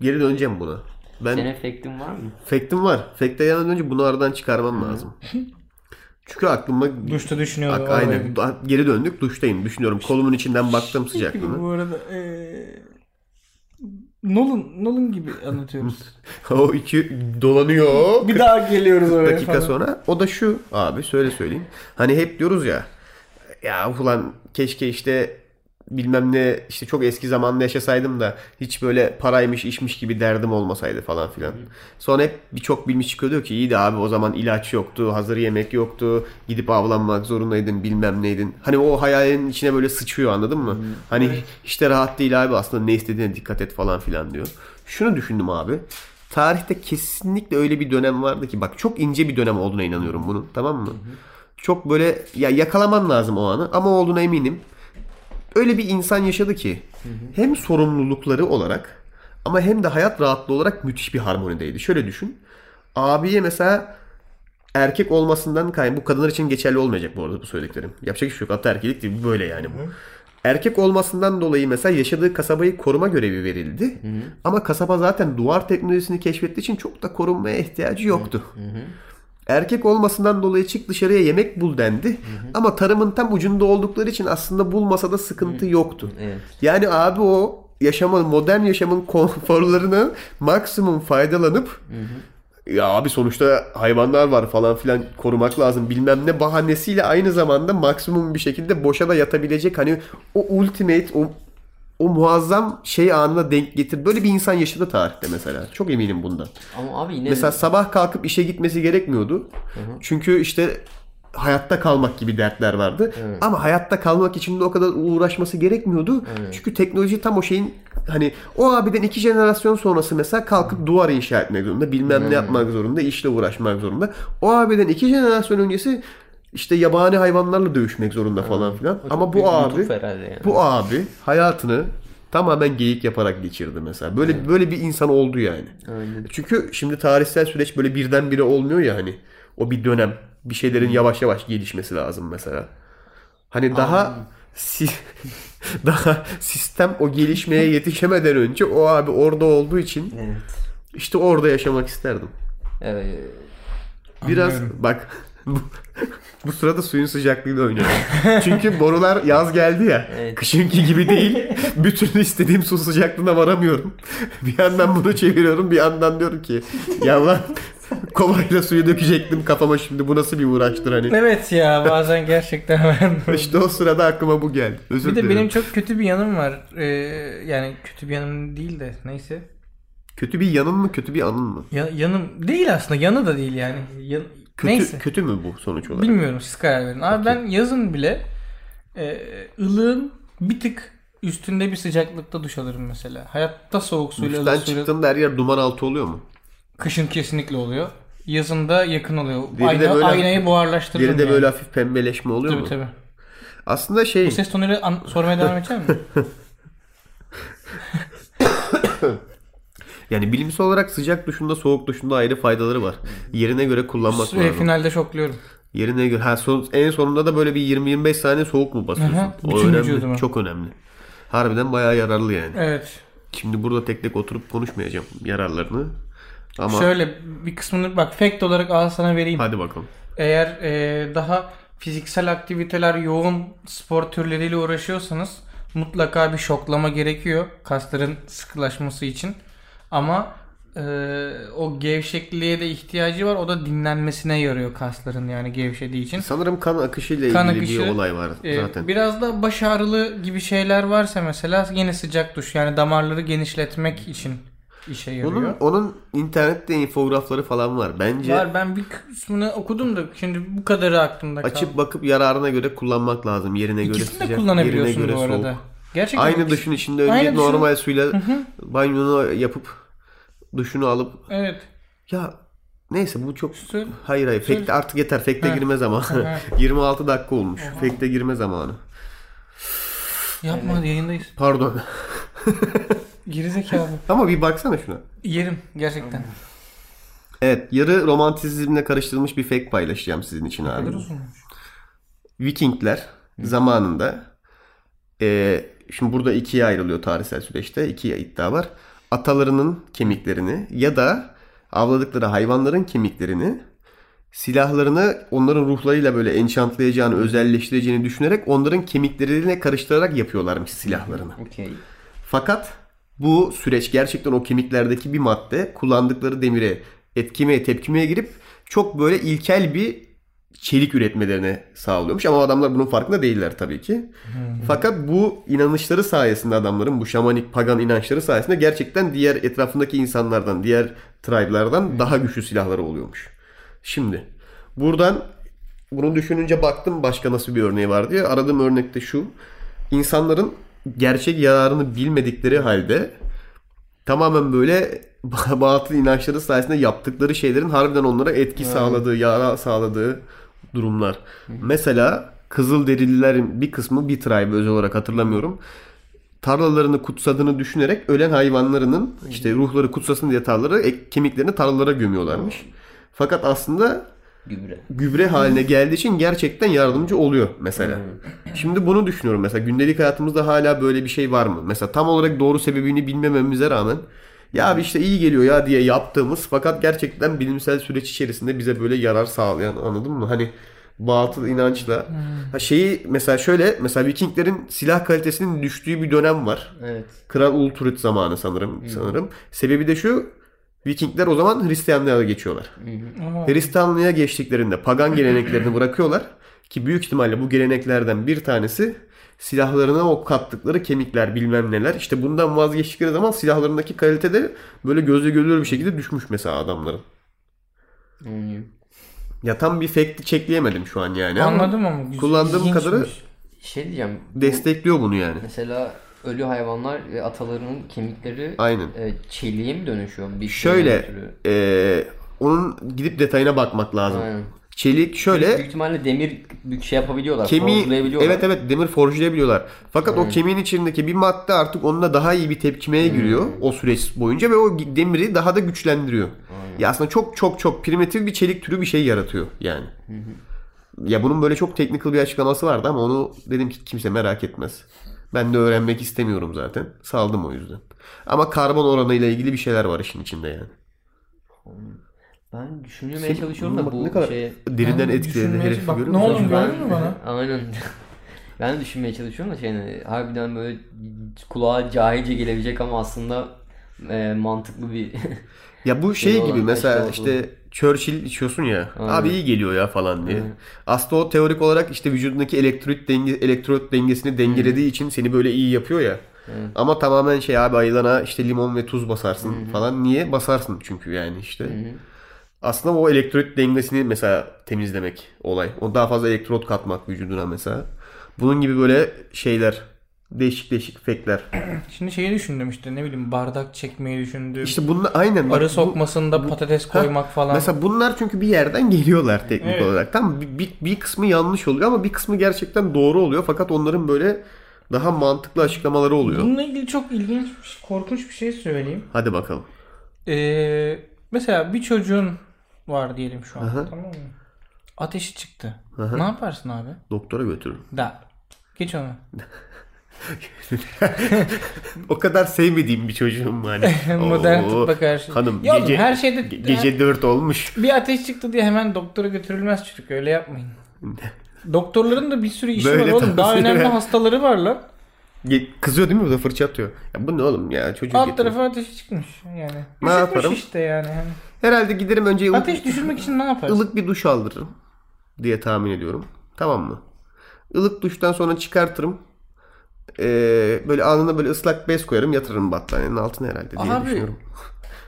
Speaker 1: Geri döneceğim buna. Ben
Speaker 4: Senin efektin var mı?
Speaker 1: Fact'im var. Fact'e yandan önce bunu aradan çıkarmam lazım. Çünkü aklıma
Speaker 3: Duşta düşünüyorum.
Speaker 1: Ak,
Speaker 3: vallahi.
Speaker 1: aynen. Da- Geri döndük. Duştayım. Düşünüyorum. Kolumun içinden baktım sıcaklığını.
Speaker 3: Bu arada eee Nolan, Nolan gibi anlatıyoruz.
Speaker 1: o iki dolanıyor.
Speaker 3: bir daha geliyoruz oraya
Speaker 1: dakika
Speaker 3: falan.
Speaker 1: sonra. O da şu abi söyle söyleyeyim. Hani hep diyoruz ya ya ulan keşke işte bilmem ne işte çok eski zamanda yaşasaydım da hiç böyle paraymış işmiş gibi derdim olmasaydı falan filan. Sonra hep birçok bilmiş çıkıyor diyor ki iyi de abi o zaman ilaç yoktu, hazır yemek yoktu, gidip avlanmak zorundaydın bilmem neydin. Hani o hayalin içine böyle sıçıyor anladın mı? Hani işte rahat değil abi aslında ne istediğine dikkat et falan filan diyor. Şunu düşündüm abi. Tarihte kesinlikle öyle bir dönem vardı ki bak çok ince bir dönem olduğuna inanıyorum bunun tamam mı? Çok böyle ya yakalaman lazım o anı ama olduğuna eminim. Öyle bir insan yaşadı ki hem sorumlulukları olarak ama hem de hayat rahatlığı olarak müthiş bir harmonideydi. Şöyle düşün. Abiye mesela erkek olmasından kaynaklı. Bu kadınlar için geçerli olmayacak bu arada bu söylediklerim. Yapacak hiçbir şey yok. Ataerkilik değil. bu Böyle yani bu. Erkek olmasından dolayı mesela yaşadığı kasabayı koruma görevi verildi. Ama kasaba zaten duvar teknolojisini keşfettiği için çok da korunmaya ihtiyacı yoktu. Erkek olmasından dolayı çık dışarıya yemek bul dendi. Ama tarımın tam ucunda oldukları için aslında bulmasa da sıkıntı yoktu.
Speaker 4: Evet.
Speaker 1: Yani abi o yaşama modern yaşamın konforlarını maksimum faydalanıp ya abi sonuçta hayvanlar var falan filan korumak lazım bilmem ne bahanesiyle aynı zamanda maksimum bir şekilde boşa da yatabilecek hani o ultimate o o muazzam şey anına denk getir. Böyle bir insan yaşadı tarihte mesela. Çok eminim bundan.
Speaker 4: Ama abi yine
Speaker 1: Mesela sabah kalkıp işe gitmesi gerekmiyordu. Çünkü işte hayatta kalmak gibi dertler vardı. Ama hayatta kalmak için de o kadar uğraşması gerekmiyordu. Çünkü teknoloji tam o şeyin hani o abiden iki jenerasyon sonrası mesela kalkıp duvar inşa etmek zorunda, bilmem ne yapmak zorunda, işle uğraşmak zorunda. O abiden iki jenerasyon öncesi işte yabani hayvanlarla dövüşmek zorunda falan filan. Ama bu abi
Speaker 4: herhalde yani.
Speaker 1: bu abi hayatını tamamen geyik yaparak geçirdi mesela. Böyle böyle bir insan oldu yani.
Speaker 4: Aynen.
Speaker 1: Çünkü şimdi tarihsel süreç böyle birdenbire olmuyor ya hani. O bir dönem bir şeylerin yavaş yavaş gelişmesi lazım mesela. Hani daha si- daha sistem o gelişmeye yetişemeden önce o abi orada olduğu için
Speaker 4: Evet.
Speaker 1: işte orada yaşamak isterdim.
Speaker 4: Evet.
Speaker 1: Biraz
Speaker 3: Anlıyorum.
Speaker 1: bak bu, bu sırada suyun sıcaklığıyla oynuyorum. Çünkü borular yaz geldi ya.
Speaker 4: Evet.
Speaker 1: Kışınki gibi değil. Bütün istediğim su sıcaklığına varamıyorum. Bir yandan bunu çeviriyorum bir yandan diyorum ki ya lan kovayla suyu dökecektim kafama şimdi bu nasıl bir uğraştır hani.
Speaker 3: Evet ya bazen gerçekten ben
Speaker 1: İşte o sırada aklıma bu geldi. Özür
Speaker 3: Bir de
Speaker 1: dilerim.
Speaker 3: benim çok kötü bir yanım var. Ee, yani kötü bir yanım değil de neyse.
Speaker 1: Kötü bir yanın mı kötü bir anın mı?
Speaker 3: Ya- yanım değil aslında yanı da değil yani. Yan-
Speaker 1: Kötü,
Speaker 3: neyse.
Speaker 1: kötü mü bu sonuç olarak?
Speaker 3: Bilmiyorum siz karar verin. Abi ben yazın bile e, ılığın bir tık üstünde bir sıcaklıkta duş alırım mesela. Hayatta soğuk suyla
Speaker 1: Duştan
Speaker 3: ılık suyla.
Speaker 1: çıktığında her yer duman altı oluyor mu?
Speaker 3: Kışın kesinlikle oluyor. Yazında yakın oluyor.
Speaker 1: de
Speaker 3: Ayna-
Speaker 1: böyle-
Speaker 3: aynayı buharlaştırırım.
Speaker 1: Deri de
Speaker 3: yani.
Speaker 1: böyle hafif pembeleşme oluyor
Speaker 3: Tabii
Speaker 1: mu?
Speaker 3: tabii.
Speaker 1: Aslında şey...
Speaker 3: Bu ses tonuyla an- sormaya devam edecek mi?
Speaker 1: Yani bilimsel olarak sıcak duşunda soğuk duşunda ayrı faydaları var. Yerine göre kullanmak
Speaker 3: Süre
Speaker 1: lazım.
Speaker 3: finalde şokluyorum.
Speaker 1: Yerine göre. Ha, son- en sonunda da böyle bir 20-25 saniye soğuk mu basıyorsun?
Speaker 3: Aha,
Speaker 1: o
Speaker 3: bütün
Speaker 1: önemli.
Speaker 3: vücuduma.
Speaker 1: Çok önemli. Harbiden bayağı yararlı yani.
Speaker 3: Evet.
Speaker 1: Şimdi burada tek tek oturup konuşmayacağım yararlarını. Ama
Speaker 3: Şöyle bir kısmını bak fact olarak al sana vereyim.
Speaker 1: hadi bakalım.
Speaker 3: Eğer e, daha fiziksel aktiviteler yoğun spor türleriyle uğraşıyorsanız mutlaka bir şoklama gerekiyor kasların sıkılaşması için. Ama e, o gevşekliğe de ihtiyacı var. O da dinlenmesine yarıyor kasların yani gevşediği için.
Speaker 1: Sanırım kan akışıyla
Speaker 3: Kan
Speaker 1: ilgili bir
Speaker 3: akışı,
Speaker 1: olay var
Speaker 3: E,
Speaker 1: zaten.
Speaker 3: biraz da baş ağrılı gibi şeyler varsa mesela yine sıcak duş yani damarları genişletmek için işe yarıyor.
Speaker 1: Onun, onun internette infografları falan var. Bence
Speaker 3: Var ben bir kısmını okudum da şimdi bu kadarı aklımda kaldı.
Speaker 1: açıp bakıp yararına göre kullanmak lazım. Yerine göre
Speaker 3: İkisini de
Speaker 1: sıcak, yerine
Speaker 3: kullanabiliyorsun
Speaker 1: göre
Speaker 3: bu
Speaker 1: soğuk.
Speaker 3: arada. Gerçekten
Speaker 1: Aynı
Speaker 3: ikisi-
Speaker 1: duşun içinde önce
Speaker 3: Aynı duşun-
Speaker 1: normal suyla banyonu yapıp duşunu alıp
Speaker 3: Evet.
Speaker 1: ya neyse bu çok
Speaker 3: Sür.
Speaker 1: hayır hayır fekte artık yeter fekte
Speaker 3: Ha.
Speaker 1: girme zamanı.
Speaker 3: Ha.
Speaker 1: 26 dakika olmuş. Fekte girme zamanı.
Speaker 3: Yapma hadi yayındayız.
Speaker 1: Pardon.
Speaker 3: Gerizekalı.
Speaker 1: Ama bir baksana şuna.
Speaker 3: Yerim gerçekten.
Speaker 1: Evet yarı romantizmle karıştırılmış bir fake paylaşacağım sizin için abi. Vikingler zamanında eee, şimdi burada ikiye ayrılıyor tarihsel süreçte. iki iddia var. Atalarının kemiklerini ya da avladıkları hayvanların kemiklerini silahlarını onların ruhlarıyla böyle enchantlayacağını, özelleştireceğini düşünerek onların kemiklerine karıştırarak yapıyorlarmış silahlarını.
Speaker 4: Okey.
Speaker 1: Fakat bu süreç gerçekten o kemiklerdeki bir madde kullandıkları demire etkimeye tepkimeye girip çok böyle ilkel bir çelik üretmelerini sağlıyormuş. Ama adamlar bunun farkında değiller tabii ki. Fakat bu inanışları sayesinde adamların bu şamanik pagan inançları sayesinde gerçekten diğer etrafındaki insanlardan, diğer tribe'lardan daha güçlü silahları oluyormuş. Şimdi buradan bunu düşününce baktım başka nasıl bir örneği var diye. Aradığım örnekte şu. İnsanların gerçek yararını bilmedikleri halde tamamen böyle batıl inançları sayesinde yaptıkları şeylerin harbiden onlara etki sağladığı, yara sağladığı durumlar. Mesela Kızılderililerin bir kısmı bir tribe özel olarak hatırlamıyorum. Tarlalarını kutsadığını düşünerek ölen hayvanlarının işte ruhları kutsasın diye tarlaları ek- kemiklerini tarlalara gömüyorlarmış. Fakat aslında
Speaker 4: Gübre.
Speaker 1: gübre haline geldiği için gerçekten yardımcı oluyor mesela. Şimdi bunu düşünüyorum mesela gündelik hayatımızda hala böyle bir şey var mı? Mesela tam olarak doğru sebebini bilmememize rağmen ya abi işte iyi geliyor ya diye yaptığımız fakat gerçekten bilimsel süreç içerisinde bize böyle yarar sağlayan anladın mı? Hani batıl inançla
Speaker 3: Hmm,
Speaker 1: ha şeyi mesela şöyle mesela Vikinglerin silah kalitesinin düştüğü bir dönem var.
Speaker 4: Evet.
Speaker 1: Kral Ulturit zamanı sanırım sanırım. Sebebi de şu Vikingler o zaman Hristiyanlığa geçiyorlar.
Speaker 3: Ama
Speaker 1: Hristiyanlığa geçtiklerinde pagan geleneklerini bırakıyorlar ki büyük ihtimalle bu geleneklerden bir tanesi silahlarına o kattıkları kemikler bilmem neler. İşte bundan vazgeçtikleri zaman silahlarındaki kalite de böyle gözle görülür bir şekilde düşmüş mesela adamların.
Speaker 4: Anlıyorum.
Speaker 1: Ya tam bir fake'li çekleyemedim şu an yani. ama
Speaker 3: anladım ama güzel,
Speaker 1: Kullandığım
Speaker 3: ilginçmiş.
Speaker 1: kadarı-
Speaker 4: Şey diyeceğim. bu-
Speaker 1: Destekliyor bunu yani.
Speaker 4: Mesela ölü hayvanlar ve atalarının kemikleri
Speaker 1: Aynen.
Speaker 4: e, çeliğe mi dönüşüyor? Bir
Speaker 1: Şöyle
Speaker 4: şeyden ötürü?
Speaker 1: eee, onun gidip Ee, detayına bakmak lazım.
Speaker 4: Aynen.
Speaker 1: Çelik şöyle
Speaker 4: Büyük ihtimalle demir bir şey yapabiliyorlar.
Speaker 1: kemiği
Speaker 4: forjlayabiliyorlar.
Speaker 1: evet evet demir forjlayabiliyorlar. Fakat o kemiğin içindeki bir madde artık onunla daha iyi bir tepkimeye giriyor o süreç boyunca ve o demiri daha da güçlendiriyor. Ya aslında çok çok çok primitif bir çelik türü bir şey yaratıyor yani. Ya bunun böyle çok technical bir açıklaması vardı ama onu dedim ki kimse merak etmez. Ben de öğrenmek istemiyorum zaten. Saldım o yüzden. Ama karbon oranıyla ilgili bir şeyler var işin içinde yani.
Speaker 4: Ben düşünmeye çalışıyorum da
Speaker 1: Bak
Speaker 4: bu şey-
Speaker 1: ne kadar
Speaker 4: şeye.
Speaker 1: derinden etkilerini
Speaker 3: düşünmeye-
Speaker 1: herifi
Speaker 3: bak
Speaker 1: görüyor
Speaker 3: ne
Speaker 1: musun?
Speaker 3: oldu? Gördün mü bana?
Speaker 4: Aynen. ben de düşünmeye çalışıyorum da şeyini harbiden böyle kulağa cahilce gelebilecek ama aslında e, mantıklı bir
Speaker 1: Ya bu şey
Speaker 4: Şey
Speaker 1: gibi
Speaker 4: olan,
Speaker 1: mesela
Speaker 4: aşırı olan.
Speaker 1: işte Churchill içiyorsun ya.
Speaker 4: Aynen.
Speaker 1: Abi iyi geliyor ya falan diye.
Speaker 4: Aynen.
Speaker 1: Aslında o teorik olarak işte vücudundaki elektrolit denge, elektrolit dengesini dengelediği için seni böyle iyi yapıyor ya.
Speaker 4: Aynen.
Speaker 1: Ama tamamen şey abi ayılana işte limon ve tuz basarsın falan. Niye? Basarsın çünkü yani işte. Aslında o elektrolit dengesini mesela temizlemek olay. O daha fazla elektrot katmak vücuduna mesela. Bunun gibi böyle şeyler. Değişik değişik fekler.
Speaker 3: Şimdi şeyi düşündüm işte ne bileyim bardak çekmeyi düşündüm.
Speaker 1: İşte bunlar aynen. bak
Speaker 3: Arı
Speaker 1: bu-
Speaker 3: sokmasında patates koymak falan.
Speaker 1: Mesela bunlar çünkü bir yerden geliyorlar teknik
Speaker 3: Evet.
Speaker 1: olarak. Tam bir, bir, bir kısmı yanlış oluyor ama bir kısmı gerçekten doğru oluyor. Fakat onların böyle daha mantıklı açıklamaları oluyor.
Speaker 3: Bununla ilgili çok ilginç, korkunç bir şey söyleyeyim.
Speaker 1: Hadi bakalım.
Speaker 3: Ee, mesela bir çocuğun var diyelim şu an.
Speaker 1: Aha.
Speaker 3: Tamam mı? Ateşi çıktı. Ne yaparsın abi?
Speaker 1: Doktora götürün.
Speaker 3: Da. Geç onu.
Speaker 1: O kadar sevmediğim bir çocuğum yani.
Speaker 3: Modern
Speaker 1: Oo,
Speaker 3: tıbba karşı.
Speaker 1: Hanım
Speaker 3: Ya oğlum,
Speaker 1: gece,
Speaker 3: her şeyde
Speaker 1: ge- gece 4 olmuş.
Speaker 3: bir ateş çıktı diye hemen doktora götürülmez çocuk. Öyle yapmayın. Doktorların da bir sürü işi
Speaker 1: Böyle
Speaker 3: var oğlum. Daha
Speaker 1: tavsiye
Speaker 3: önemli
Speaker 1: ver.
Speaker 3: hastaları var lan.
Speaker 1: Ge- Kızıyor değil mi? Bu da fırça atıyor. Ya bu ne oğlum ya? Çocuğu
Speaker 3: Alt
Speaker 1: getir.
Speaker 3: tarafa ateşi çıkmış yani.
Speaker 1: Ne
Speaker 3: Üşütmüş
Speaker 1: yaparım?
Speaker 3: işte yani. Hani
Speaker 1: Herhalde giderim önce ılık,
Speaker 3: Ateş düşürmek için ne yaparsın?
Speaker 1: ılık bir duş aldırırım diye tahmin ediyorum. Tamam mı? Ilık duştan sonra çıkartırım. Ee, böyle alnına böyle ıslak bez koyarım yatırırım battaniyenin altına herhalde diye
Speaker 3: Abi,
Speaker 1: düşünüyorum.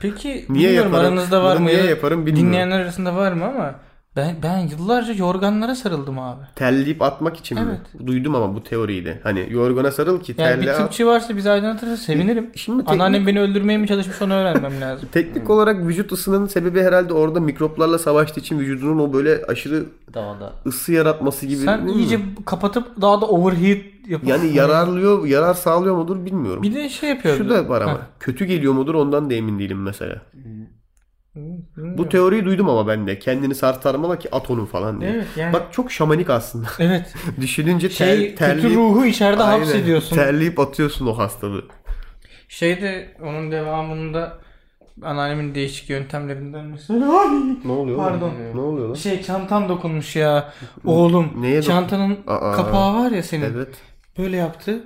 Speaker 3: Peki
Speaker 1: Niye
Speaker 3: bilmiyorum
Speaker 1: yaparım?
Speaker 3: aranızda var
Speaker 1: Bunu
Speaker 3: mı?
Speaker 1: niye
Speaker 3: ya da
Speaker 1: yaparım bilmiyorum.
Speaker 3: Dinleyenler arasında var mı ama ben ben yıllarca yorganlara sarıldım abi.
Speaker 1: Telleyip atmak için mi?
Speaker 3: Evet.
Speaker 1: Duydum ama bu teoriyi de. Hani yorgana sarıl ki
Speaker 3: Yani
Speaker 1: terle
Speaker 3: bir
Speaker 1: at.
Speaker 3: tıpçı varsa bizi aydınlatırsa sevinirim.
Speaker 1: Şimdi teknik-
Speaker 3: Anneannem beni öldürmeye mi çalışmış onu öğrenmem lazım.
Speaker 1: Teknik olarak vücut ısının sebebi herhalde orada mikroplarla savaştığı için vücudunun o böyle aşırı
Speaker 4: davada.
Speaker 1: ısı yaratması gibi.
Speaker 3: Sen
Speaker 1: değil mi?
Speaker 3: iyice Hani kapatıp daha da overheat yapıyorsun.
Speaker 1: Hmm. yani yararlıyor, yarar sağlıyor mudur bilmiyorum.
Speaker 3: Bir de şey yapıyordu.
Speaker 1: Şu da var ama.
Speaker 3: Heh.
Speaker 1: Kötü geliyor mudur ondan da emin değilim mesela.
Speaker 3: Bilmiyorum.
Speaker 1: Bu teoriyi duydum ama ben de. Kendini sartarmala ki at onu falan diye.
Speaker 3: Evet, yani.
Speaker 1: Bak çok şamanik aslında.
Speaker 3: Evet.
Speaker 1: Düşününce ter,
Speaker 3: Şey kötü
Speaker 1: terleyip,
Speaker 3: ruhu içeride
Speaker 1: Aynen.
Speaker 3: hapsediyorsun.
Speaker 1: terleyip atıyorsun o hastalığı.
Speaker 3: Şeyde onun devamında anneannemin değişik yöntemlerinden mesela
Speaker 1: Ne oluyor?
Speaker 3: Pardon.
Speaker 1: Oğlum? Ne oluyor lan?
Speaker 3: Şey çantan dokunmuş ya. Oğlum
Speaker 1: Neye dokun-
Speaker 3: çantanın
Speaker 1: Aa.
Speaker 3: kapağı var ya senin.
Speaker 1: Evet.
Speaker 3: Böyle yaptı.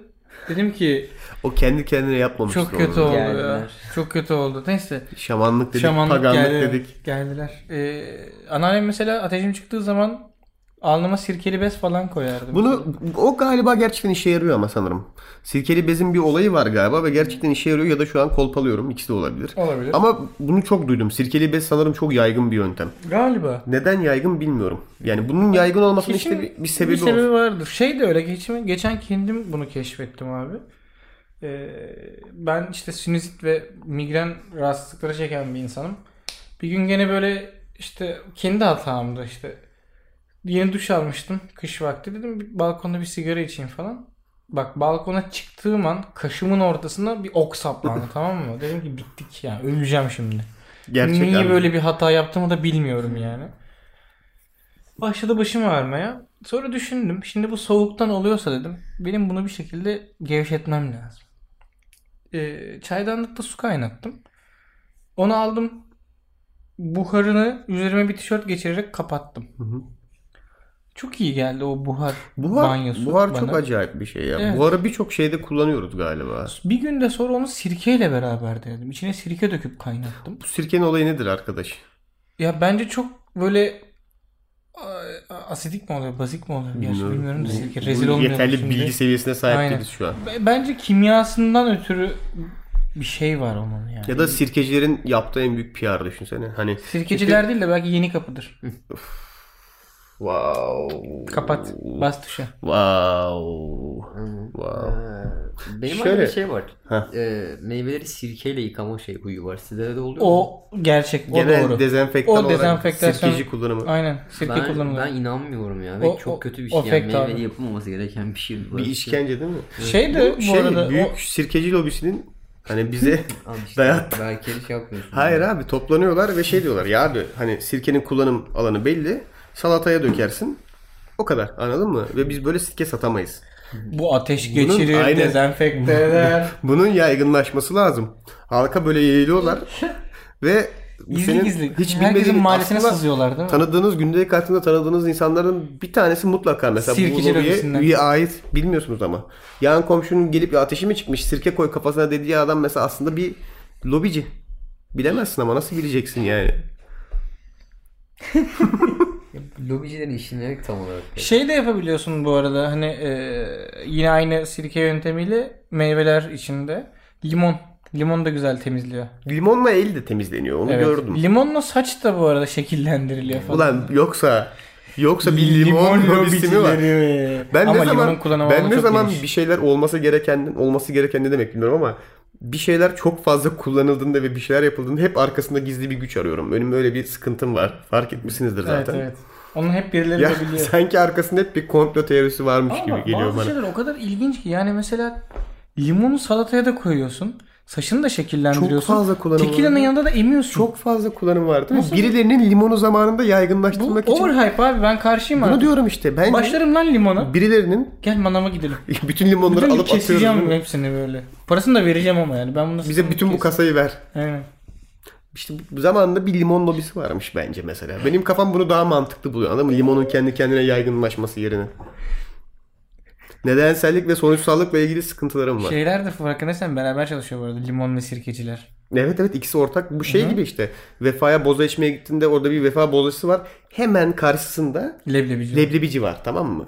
Speaker 3: Dedim ki
Speaker 1: O kendi kendine yapmamıştı
Speaker 3: çok kötü
Speaker 1: onu.
Speaker 3: oldu ya.
Speaker 4: Geldiler.
Speaker 3: Çok kötü oldu. Neyse.
Speaker 1: Şamanlık dedik,
Speaker 3: Şamanlık
Speaker 1: paganlık
Speaker 3: geldi.
Speaker 1: dedik.
Speaker 3: Geldiler. Ee, anneannem mesela ateşim çıktığı zaman alnıma sirkeli bez falan koyardı.
Speaker 1: Bunu o galiba gerçekten işe yarıyor ama sanırım. Sirkeli bezin bir olayı var galiba ve gerçekten işe yarıyor ya da şu an kolpalıyorum. İkisi de olabilir.
Speaker 3: Olabilir.
Speaker 1: Ama bunu çok duydum. Sirkeli bez sanırım çok yaygın bir yöntem.
Speaker 3: Galiba.
Speaker 1: Neden yaygın bilmiyorum. Yani bunun yaygın olmasının
Speaker 3: Kesin
Speaker 1: işte bir, bir sebebi, olsun.
Speaker 3: vardır. Şey de öyle geçen, geçen kendim bunu keşfettim abi. Ee, ben işte sinüzit ve migren rahatsızlıkları çeken bir insanım. Bir gün gene böyle işte kendi hatamdı işte. Yeni duş almıştım kış vakti dedim bir balkonda bir sigara içeyim falan. Bak balkona çıktığım an kaşımın ortasına bir ok saplandı tamam mı? Dedim ki bittik yani öleceğim şimdi.
Speaker 1: Gerçek
Speaker 3: Niye
Speaker 1: abi.
Speaker 3: böyle bir hata yaptığımı da bilmiyorum yani. Başladı başım ağrımaya. Sonra düşündüm. Şimdi bu soğuktan oluyorsa dedim. Benim bunu bir şekilde gevşetmem lazım. Ee, çaydanlıkta su kaynattım. Onu aldım. Buharını üzerime bir tişört geçirerek kapattım.
Speaker 1: hı.
Speaker 3: Çok iyi geldi o buhar,
Speaker 1: Buhar,
Speaker 3: banyosu
Speaker 1: buhar çok
Speaker 3: bana.
Speaker 1: acayip bir şey ya.
Speaker 3: Evet.
Speaker 1: Buharı birçok şeyde kullanıyoruz galiba.
Speaker 3: Bir gün de sonra onu sirkeyle beraber denedim. İçine sirke döküp kaynattım.
Speaker 1: Bu sirkenin olayı nedir arkadaş?
Speaker 3: Ya bence çok böyle a- asidik mi oluyor, bazik mi oluyor? Gerçi
Speaker 1: Bilmiyorum.
Speaker 3: bilmiyorum da
Speaker 1: Bu-
Speaker 3: sirke
Speaker 1: bu
Speaker 3: rezil olmayalım
Speaker 1: Yeterli
Speaker 3: şimdi.
Speaker 1: bilgi seviyesine sahip
Speaker 3: Aynen.
Speaker 1: değiliz şu an.
Speaker 3: B- Bence kimyasından ötürü bir şey var onun yani.
Speaker 1: Ya da sirkecilerin yaptığı en büyük PR düşünsene. Hani
Speaker 3: Sirkeciler değil de belki yeni kapıdır.
Speaker 1: Wow.
Speaker 3: Kapat. Bas tuşa.
Speaker 1: Wow. Wow.
Speaker 4: Ee, Benim
Speaker 1: Şöyle.
Speaker 4: Şöyle. bir şey var.
Speaker 1: Heh.
Speaker 4: Ee, meyveleri sirkeyle yıkama şey huyu var. Sizde de oluyor mu?
Speaker 3: O gerçek. O
Speaker 1: Genel
Speaker 3: doğru.
Speaker 1: dezenfektan
Speaker 3: O
Speaker 1: olarak
Speaker 3: dezenfektasyon-
Speaker 1: sirkeci kullanımı.
Speaker 3: Aynen. Sirke
Speaker 4: ben,
Speaker 3: kullanılıyor.
Speaker 4: ben inanmıyorum ya. Ve
Speaker 3: O-
Speaker 4: çok
Speaker 3: o-
Speaker 4: kötü bir
Speaker 3: o
Speaker 4: şey. Yani.
Speaker 3: fake abi.
Speaker 4: Meyveli yapılmaması gereken bir şey. bu.
Speaker 1: Bir işkence değil mi?
Speaker 3: şey de bu
Speaker 1: şey,
Speaker 3: arada
Speaker 1: büyük
Speaker 3: o-
Speaker 1: sirkeci lobisinin hani bize
Speaker 4: Al işte.
Speaker 1: Dayat.
Speaker 4: Belki şey yapmıyorsun.
Speaker 1: Hayır abi toplanıyorlar ve şey diyorlar ya abi hani sirkenin kullanım alanı belli. Salataya dökersin. O kadar anladın mı? Ve biz böyle sirke satamayız.
Speaker 3: bu ateş
Speaker 1: Bunun-
Speaker 3: geçirir,
Speaker 1: aynen.
Speaker 3: dezenfekte eder.
Speaker 1: Bunun yaygınlaşması lazım. Halka böyle yayılıyorlar ve bu
Speaker 3: Gizli
Speaker 1: senin
Speaker 3: gizli.
Speaker 1: Hiç
Speaker 3: Herkesin
Speaker 1: bilmediğin-
Speaker 3: mahallesine
Speaker 1: aslında
Speaker 3: sızıyorlar değil mi?
Speaker 1: Tanıdığınız gündelik hayatında tanıdığınız insanların bir tanesi mutlaka mesela
Speaker 3: Sirkeci
Speaker 1: bu lobiye
Speaker 3: lobisinden.
Speaker 1: üye ait bilmiyorsunuz ama. Yan komşunun gelip ya ateşi mi çıkmış sirke koy kafasına dediği adam mesela aslında bir lobici. Bilemezsin ama nasıl bileceksin yani?
Speaker 4: Lobicilerin işini tam olarak.
Speaker 3: Şey de yapabiliyorsun bu arada hani e, yine aynı sirke yöntemiyle meyveler içinde limon. Limon da güzel temizliyor.
Speaker 1: Limonla el de temizleniyor onu
Speaker 3: Evet.
Speaker 1: gördüm.
Speaker 3: Limonla saç da bu arada şekillendiriliyor falan.
Speaker 1: Ulan yoksa yoksa bir limon, lobisi mi var?
Speaker 3: lobicileri.
Speaker 1: Ben
Speaker 3: Ama
Speaker 1: ne
Speaker 3: limonun
Speaker 1: zaman
Speaker 3: kullanım
Speaker 1: ben
Speaker 3: alanı
Speaker 1: ne
Speaker 3: çok
Speaker 1: zaman
Speaker 3: geniş.
Speaker 1: bir şey şeyler olması gereken olması gereken ne demek bilmiyorum ama bir şeyler çok fazla kullanıldığında ve bir şeyler yapıldığında hep arkasında gizli bir güç arıyorum. Benim öyle bir sıkıntım var. Fark etmişsinizdir
Speaker 3: Evet
Speaker 1: zaten.
Speaker 3: evet. Onun hep birileri
Speaker 1: Ya
Speaker 3: de biliyor.
Speaker 1: sanki arkasında hep bir komplo teorisi varmış
Speaker 3: Ama
Speaker 1: gibi
Speaker 3: bak,
Speaker 1: geliyor
Speaker 3: bazı
Speaker 1: bana.
Speaker 3: şeyler o kadar ilginç ki yani mesela limonu salataya da koyuyorsun. Saçını da şekillendiriyorsun.
Speaker 1: Çok fazla kullanım
Speaker 3: Tekilanın
Speaker 1: var.
Speaker 3: yanında da emiyorsun.
Speaker 1: Çok fazla kullanım var değil mi?
Speaker 3: Nasıl?
Speaker 1: Birilerinin limonu zamanında
Speaker 3: bu
Speaker 1: yaygınlaştırmak için.
Speaker 3: overhype abi ben karşıyım
Speaker 1: Bunu
Speaker 3: abi.
Speaker 1: diyorum işte. Bence
Speaker 3: Başlarım lan limona.
Speaker 1: birilerinin
Speaker 3: Gel manama gidelim.
Speaker 1: bütün limonları
Speaker 3: Bütün
Speaker 1: alıp atıyoruz.
Speaker 3: keseceğim
Speaker 1: değil mi?
Speaker 3: hepsini böyle. Parasını da vereceğim ama yani. Ben bunu
Speaker 1: Bize bütün bu kasayı ver.
Speaker 3: Aynen.
Speaker 1: İşte bu- zamanında bir limon lobisi varmış bence mesela. Benim kafam bunu daha mantıklı buluyor anladın mı? Limonun kendi kendine yaygınlaşması yerine. Nedensellik ve sonuçsallıkla ilgili sıkıntılarım var.
Speaker 3: Şeyler de farkındaysan beraber çalışıyor bu arada limon ve sirkeciler.
Speaker 1: Evet evet ikisi ortak. Bu şey gibi işte. Vefaya boza içmeye gittiğinde orada bir vefa bozacısı var. Hemen karşısında
Speaker 3: Leblebici.
Speaker 1: leblebici var tamam mı?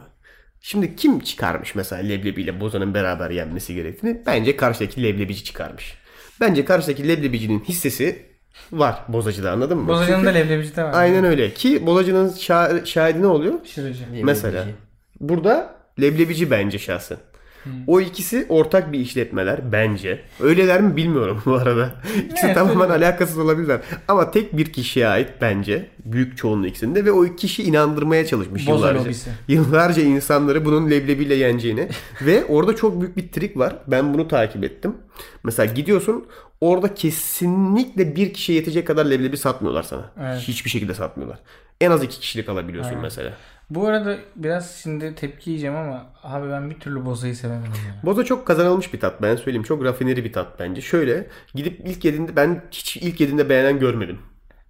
Speaker 1: Şimdi kim çıkarmış mesela leblebiyle bozanın beraber yenmesi gerektiğini? Bence karşıdaki leblebici çıkarmış. Bence karşıdaki leblebicinin hissesi var bozacıda anladın mı?
Speaker 3: Bozacının
Speaker 1: Çünkü-
Speaker 3: da leblebici de var.
Speaker 1: Aynen öyle. Ki Bolacı'nın şa- şahidi ne oluyor?
Speaker 3: Şiracı.
Speaker 1: Mesela. Burada leblebici bence şahsen.
Speaker 3: Hmm.
Speaker 1: O ikisi ortak bir işletmeler bence. Öyleler mi bilmiyorum bu arada. İkisi
Speaker 3: Evet,
Speaker 1: tamamen alakasız olabilirler. Ama tek bir kişiye ait bence. Büyük çoğunluğu ikisinde ve o kişi inandırmaya çalışmış
Speaker 3: Boza
Speaker 1: yıllarca.
Speaker 3: lobisi.
Speaker 1: Yıllarca insanları bunun leblebiyle yeneceğini ve orada çok büyük bir trik var. Ben bunu takip ettim. Mesela gidiyorsun orada kesinlikle bir kişiye yetecek kadar leblebi satmıyorlar sana.
Speaker 3: Evet.
Speaker 1: Hiçbir şekilde satmıyorlar. En az iki kişilik alabiliyorsun mesela.
Speaker 3: Bu arada biraz şimdi tepki yiyeceğim ama abi ben bir türlü bozayı sevemedim ya.
Speaker 1: Boza çok kazanılmış bir tat ben söyleyeyim. Çok rafineri bir tat bence. Şöyle gidip ilk yediğinde ben hiç ilk yediğinde beğenen görmedim.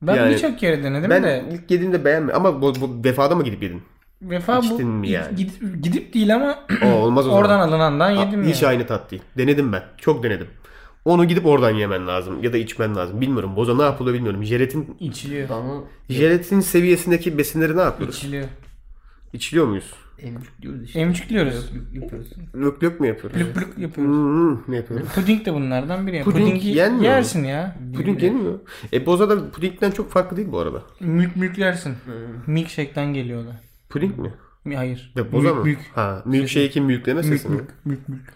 Speaker 3: Ben
Speaker 1: Yani-
Speaker 3: birçok kere denedim
Speaker 1: ben
Speaker 3: de
Speaker 1: ilk yediğimde beğenmedim ama bu, bu defada mı gidip yedin?
Speaker 3: vefa bu
Speaker 1: İçtin mi yani?
Speaker 3: gidip, gidip değil ama
Speaker 1: O olmaz o zaman.
Speaker 3: oradan alınandan
Speaker 1: Ha,
Speaker 3: yedim
Speaker 1: Hiç
Speaker 3: ya.
Speaker 1: aynı tat değil. Denedim ben. Çok denedim. Onu gidip oradan yemen lazım ya da içmen lazım. Bilmiyorum. Boza ne yapılıyor bilmiyorum. Jelatin
Speaker 3: İçiliyor.
Speaker 4: Bana
Speaker 1: jelatin seviyesindeki besinleri ne yapıyoruz?
Speaker 3: İçiliyor.
Speaker 1: İçiliyor muyuz?
Speaker 4: emcik diyoruz işte.
Speaker 3: Emçikliyoruz.
Speaker 4: Yok, yapıyoruz.
Speaker 1: Lök lök mü yapıyoruz?
Speaker 3: Blük blük yapıyoruz.
Speaker 1: Hmm, ne yapıyoruz?
Speaker 3: Puding de bunlardan biri.
Speaker 1: Puding
Speaker 3: Pudingi
Speaker 1: yenmiyor mu?
Speaker 3: yersin ya.
Speaker 1: Puding yenmiyor. E boza da pudingden çok farklı değil bu arada.
Speaker 3: Mülk mülklersin. Milkshake'den geliyor o da.
Speaker 1: Puding mi?
Speaker 3: Mi- Hayır.
Speaker 1: Ve boza
Speaker 3: Mülk,
Speaker 1: mı?
Speaker 3: Mülk.
Speaker 1: Ha, milkshake'in mülkleme
Speaker 3: Mülk,
Speaker 1: sesi mi?
Speaker 3: mülk, mülk, mülk.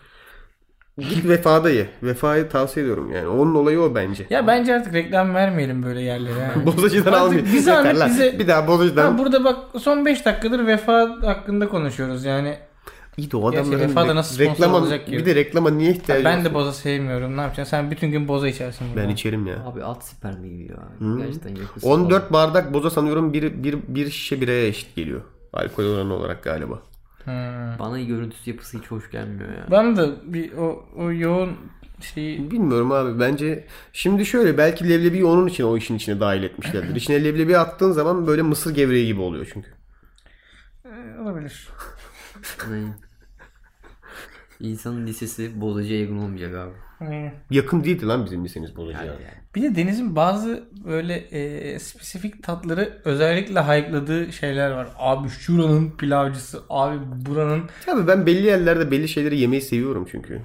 Speaker 1: Git vefada ye. Vefayı tavsiye ediyorum yani. Onun olayı o bence.
Speaker 3: Ya bence artık reklam vermeyelim böyle yerlere. ha.
Speaker 1: Bozacıdan
Speaker 3: Artık
Speaker 1: almayın.
Speaker 3: bir zahmet
Speaker 1: Yeter lan.
Speaker 3: bize-
Speaker 1: Bir daha
Speaker 3: Ha,
Speaker 1: bozacıdan.
Speaker 3: burada bak son 5 dakikadır vefa hakkında konuşuyoruz yani.
Speaker 1: İyi de o
Speaker 3: Gerçi
Speaker 1: adamların
Speaker 3: Vefa'da
Speaker 1: re-
Speaker 3: nasıl sponsor
Speaker 1: reklama-
Speaker 3: olacak ki?
Speaker 1: Bir de reklama niye ihtiyacı
Speaker 3: ben
Speaker 1: olsun?
Speaker 3: de boza sevmiyorum. Ne yapacaksın? Sen bütün gün boza içersin.
Speaker 1: Ben
Speaker 3: burada.
Speaker 1: içerim ya.
Speaker 4: Abi at spermi gibi ya. Gerçekten yapısı.
Speaker 1: 14 bardak boza sanıyorum bir, bir, bir şişe biraya eşit geliyor. Alkol oranı olarak galiba.
Speaker 3: Hmm.
Speaker 4: Bana görüntüsü yapısı hiç hoş gelmiyor ya.
Speaker 3: Ben de bir o, o yoğun şey şeyi
Speaker 1: Bilmiyorum abi bence şimdi şöyle belki leblebiyi onun için o işin içine dahil etmişlerdir. İçine leblebi attığın zaman böyle mısır gevreği gibi oluyor çünkü.
Speaker 3: olabilir.
Speaker 4: Yani İnsanın Hani lisesi bozacı evin olmayacak abi.
Speaker 3: Aynen.
Speaker 1: Yakın değildi lan bizim lisemiz bozacı.
Speaker 4: Yani,
Speaker 1: ya.
Speaker 4: yani.
Speaker 3: Bir de Deniz'in bazı böyle e, spesifik tatları özellikle hype'ladığı şeyler var. Abi şuranın pilavcısı, abi buranın.
Speaker 1: Abi ben belli yerlerde belli şeyleri yemeyi seviyorum çünkü.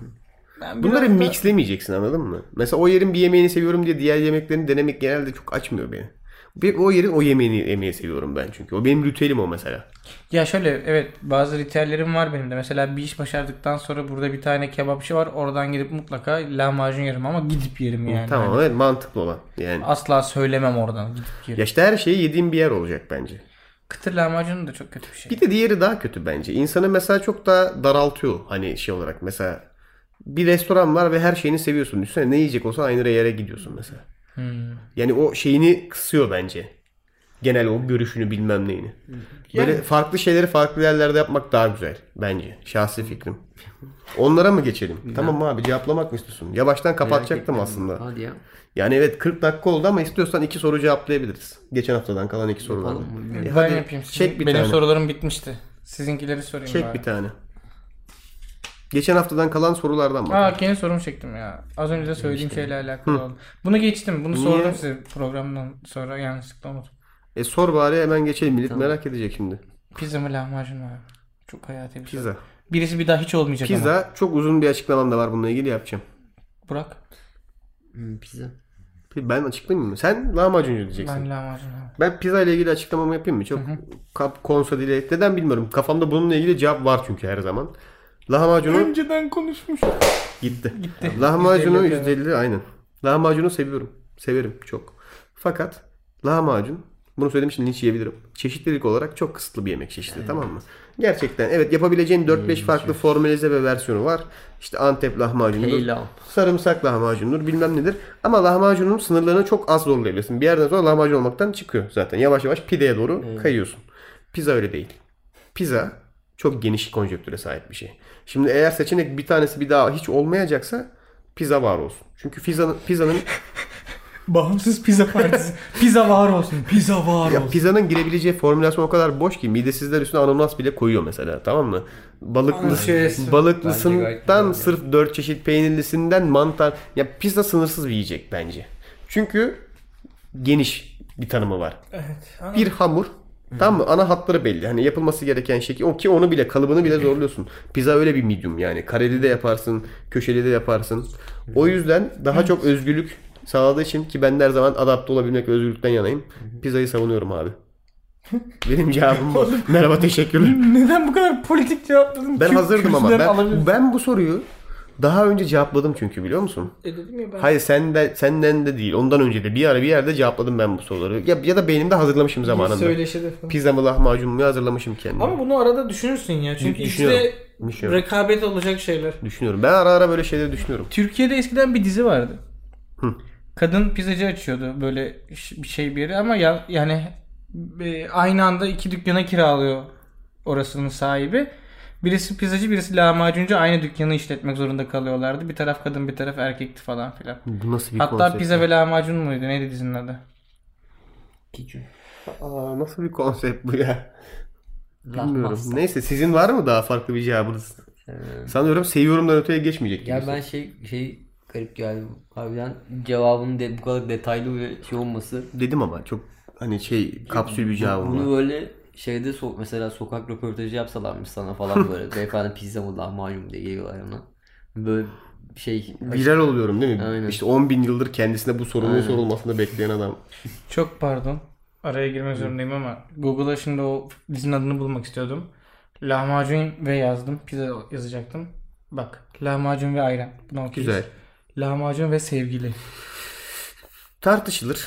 Speaker 3: Ben
Speaker 1: Bunları
Speaker 3: biraz da-
Speaker 1: mixlemeyeceksin anladın mı? Mesela o yerin bir yemeğini seviyorum diye diğer yemeklerini denemek genelde çok açmıyor beni. Bir, o yerin o yemeğini yemeyi seviyorum ben çünkü. O benim ritüelim o mesela.
Speaker 3: Ya şöyle evet bazı ritüellerim var benim de. Mesela bir iş başardıktan sonra burada bir tane kebapçı var. Oradan gidip mutlaka lahmacun yerim ama gidip yerim yani.
Speaker 1: tamam
Speaker 3: Hani
Speaker 1: evet mantıklı olan. Yani
Speaker 3: Asla söylemem oradan gidip yerim.
Speaker 1: ya işte her şeyi yediğim bir yer olacak bence.
Speaker 3: Kıtır lahmacun da çok kötü bir şey.
Speaker 1: Bir de diğeri daha kötü bence. İnsanı mesela çok daha daraltıyor hani şey olarak. Mesela bir restoran var ve her şeyini seviyorsun. Düşünsene ne yiyecek olsa aynı yere gidiyorsun mesela.
Speaker 3: Hmm.
Speaker 1: Yani o şeyini kısıyor bence. Genel o görüşünü bilmem neyini. Böyle farklı şeyleri farklı yerlerde yapmak daha güzel bence. Şahsi fikrim. Onlara mı geçelim? Tamam abi cevaplamak mı istiyorsun? Yavaştan kapatacaktım aslında.
Speaker 4: Hadi ya.
Speaker 1: Yani evet 40 dakika oldu ama istiyorsan iki soru cevaplayabiliriz. Geçen haftadan kalan iki soru vardı.
Speaker 4: Yapalım
Speaker 1: E,
Speaker 3: Ben
Speaker 1: hadi
Speaker 3: yapayım. Sizin-
Speaker 1: çek bir
Speaker 3: benim
Speaker 1: tane.
Speaker 3: sorularım bitmişti. Sizinkileri sorayım
Speaker 1: Çek
Speaker 3: bari.
Speaker 1: bir tane. Geçen haftadan kalan sorulardan bak.
Speaker 3: Aa kendi sorumu çektim ya. Az önce de söylediğim şeyle alakalı oldu. Bunu geçtim. Bunu
Speaker 1: Niye?
Speaker 3: sordum size programdan sonra yanlışlıkla unuttum.
Speaker 1: E sor bari hemen geçelim. Millet merak edecek şimdi.
Speaker 3: Pizza mı lahmacun mu? abi? Çok hayati bir soru.
Speaker 1: Pizza.
Speaker 3: Birisi bir daha hiç olmayacak ama.
Speaker 1: Pizza çok uzun bir açıklamam da var bununla ilgili yapacağım.
Speaker 3: Burak.
Speaker 4: Hmm, pizza.
Speaker 1: Ben açıklayayım mı? Sen lahmacuncu diyeceksin.
Speaker 3: Ben lahmacun abi.
Speaker 1: Ben pizza ile ilgili açıklamamı yapayım mı? Çok kap konsa dile neden bilmiyorum. Kafamda bununla ilgili cevap var çünkü her zaman. Lahmacunu
Speaker 3: Önceden konuşmuş.
Speaker 1: gitti.
Speaker 3: Gitti.
Speaker 1: Lahmacunu
Speaker 3: %50
Speaker 1: %50 aynen. Lahmacunu seviyorum. Severim çok. Fakat lahmacun bunu söylediğim için linç yiyebilirim. Çeşitlilik olarak çok kısıtlı bir yemek çeşidi tamam mı? Gerçekten evet yapabileceğin 4-5 farklı formülize ve versiyonu var. İşte Antep lahmacunudur.
Speaker 4: Pilav.
Speaker 1: Sarımsak lahmacundur bilmem nedir. Ama lahmacunun sınırlarını çok az zorlayabilirsin. Bir yerden sonra lahmacun olmaktan çıkıyor zaten. Yavaş yavaş pideye doğru kayıyorsun. Pizza öyle değil. Pizza çok geniş konjektüre sahip bir şey. Şimdi eğer seçenek bir tanesi bir daha hiç olmayacaksa pizza var olsun. Çünkü pizzanın, pizzanın,
Speaker 3: Bağımsız pizza partisi. pizza var olsun. Pizza var
Speaker 1: ya pizzanın girebileceği formülasyon o kadar boş ki midesizler üstüne ananas bile koyuyor mesela tamam mı? Balıklı,
Speaker 3: Ananas yöresini.
Speaker 4: Bence gayet
Speaker 1: balıklısından
Speaker 4: güzel
Speaker 1: sırf dört çeşit peynirlisinden mantar. Ya pizza sınırsız bir yiyecek bence. Çünkü geniş bir tanımı var. Bir hamur Tamam mı? Ana hatları belli. Hani yapılması gereken şekil o ki onu bile kalıbını bile zorluyorsun. Pizza öyle bir medium yani. Kareli de yaparsın, köşeli de yaparsın. O yüzden daha çok özgürlük sağladığı için ki ben de her zaman adapte olabilmek ve özgürlükten yanayım. Pizzayı savunuyorum abi. Benim cevabım bu. Merhaba teşekkürler.
Speaker 3: Neden bu kadar politik cevapladın?
Speaker 1: Ben
Speaker 3: Kü-
Speaker 1: hazırdım ama
Speaker 3: kürsüden
Speaker 1: ben,
Speaker 3: alabilirsin.
Speaker 1: ben bu soruyu daha önce cevapladım çünkü biliyor musun?
Speaker 3: E dedim ya ben.
Speaker 1: Hayır senden senden de değil. Ondan önce de bir ara bir yerde cevapladım ben bu soruları. Ya, ya da beynimde hazırlamışım
Speaker 3: Bir
Speaker 1: zamanında.
Speaker 3: söyleşide falan.
Speaker 1: Pizza mı lahmacun mu hazırlamışım kendimi.
Speaker 3: Ama bunu arada düşünürsün ya. Çünkü işte
Speaker 1: Düşünüyorum. Düşünüyorum.
Speaker 3: rekabet olacak şeyler.
Speaker 1: Düşünüyorum. Ben ara ara böyle şeyleri düşünüyorum.
Speaker 3: Türkiye'de eskiden bir dizi vardı.
Speaker 1: Hı.
Speaker 3: Kadın pizzacı açıyordu böyle ş- bir şey bir yeri ama ya, yani e, aynı anda iki dükkana kiralıyor orasının sahibi. Birisi pizzacı birisi lahmacuncu aynı dükkanı işletmek zorunda kalıyorlardı. Bir taraf kadın bir taraf erkekti falan filan.
Speaker 1: Bu nasıl bir
Speaker 3: Hatta
Speaker 1: konsept?
Speaker 3: pizza ve lahmacun muydu neydi dizinin adı?
Speaker 4: Kicu.
Speaker 1: Aa, nasıl bir konsept bu ya? Bilmiyorum.
Speaker 4: Lahmacun.
Speaker 1: Neyse sizin var mı daha farklı bir cevabınız?
Speaker 4: Ee,
Speaker 1: Sanıyorum seviyorumdan öteye geçmeyecek.
Speaker 4: Ya
Speaker 1: gibisi.
Speaker 4: ben şey şey garip geldi. Harbiden cevabın de, bu kadar detaylı ve şey olması.
Speaker 1: Dedim ama çok hani şey kapsül bir cevabım
Speaker 4: Bunu
Speaker 1: var.
Speaker 4: böyle şeyde so mesela sokak röportajı yapsalarmış sana falan böyle. Beyefendi pizza mı lahmacun diye geliyorlar yanına. Böyle şey
Speaker 1: Viral oluyorum değil mi?
Speaker 4: Aynen.
Speaker 1: İşte 10 bin yıldır kendisine bu sorunun sorulmasını bekleyen adam.
Speaker 3: Çok pardon. Araya girmek zorundayım ama Google'a şimdi o dizinin adını bulmak istiyordum. Lahmacun ve yazdım. Pizza yazacaktım. Bak. Lahmacun ve ayran. Bunu okuyuz.
Speaker 1: Güzel.
Speaker 3: Lahmacun ve sevgili.
Speaker 1: Tartışılır.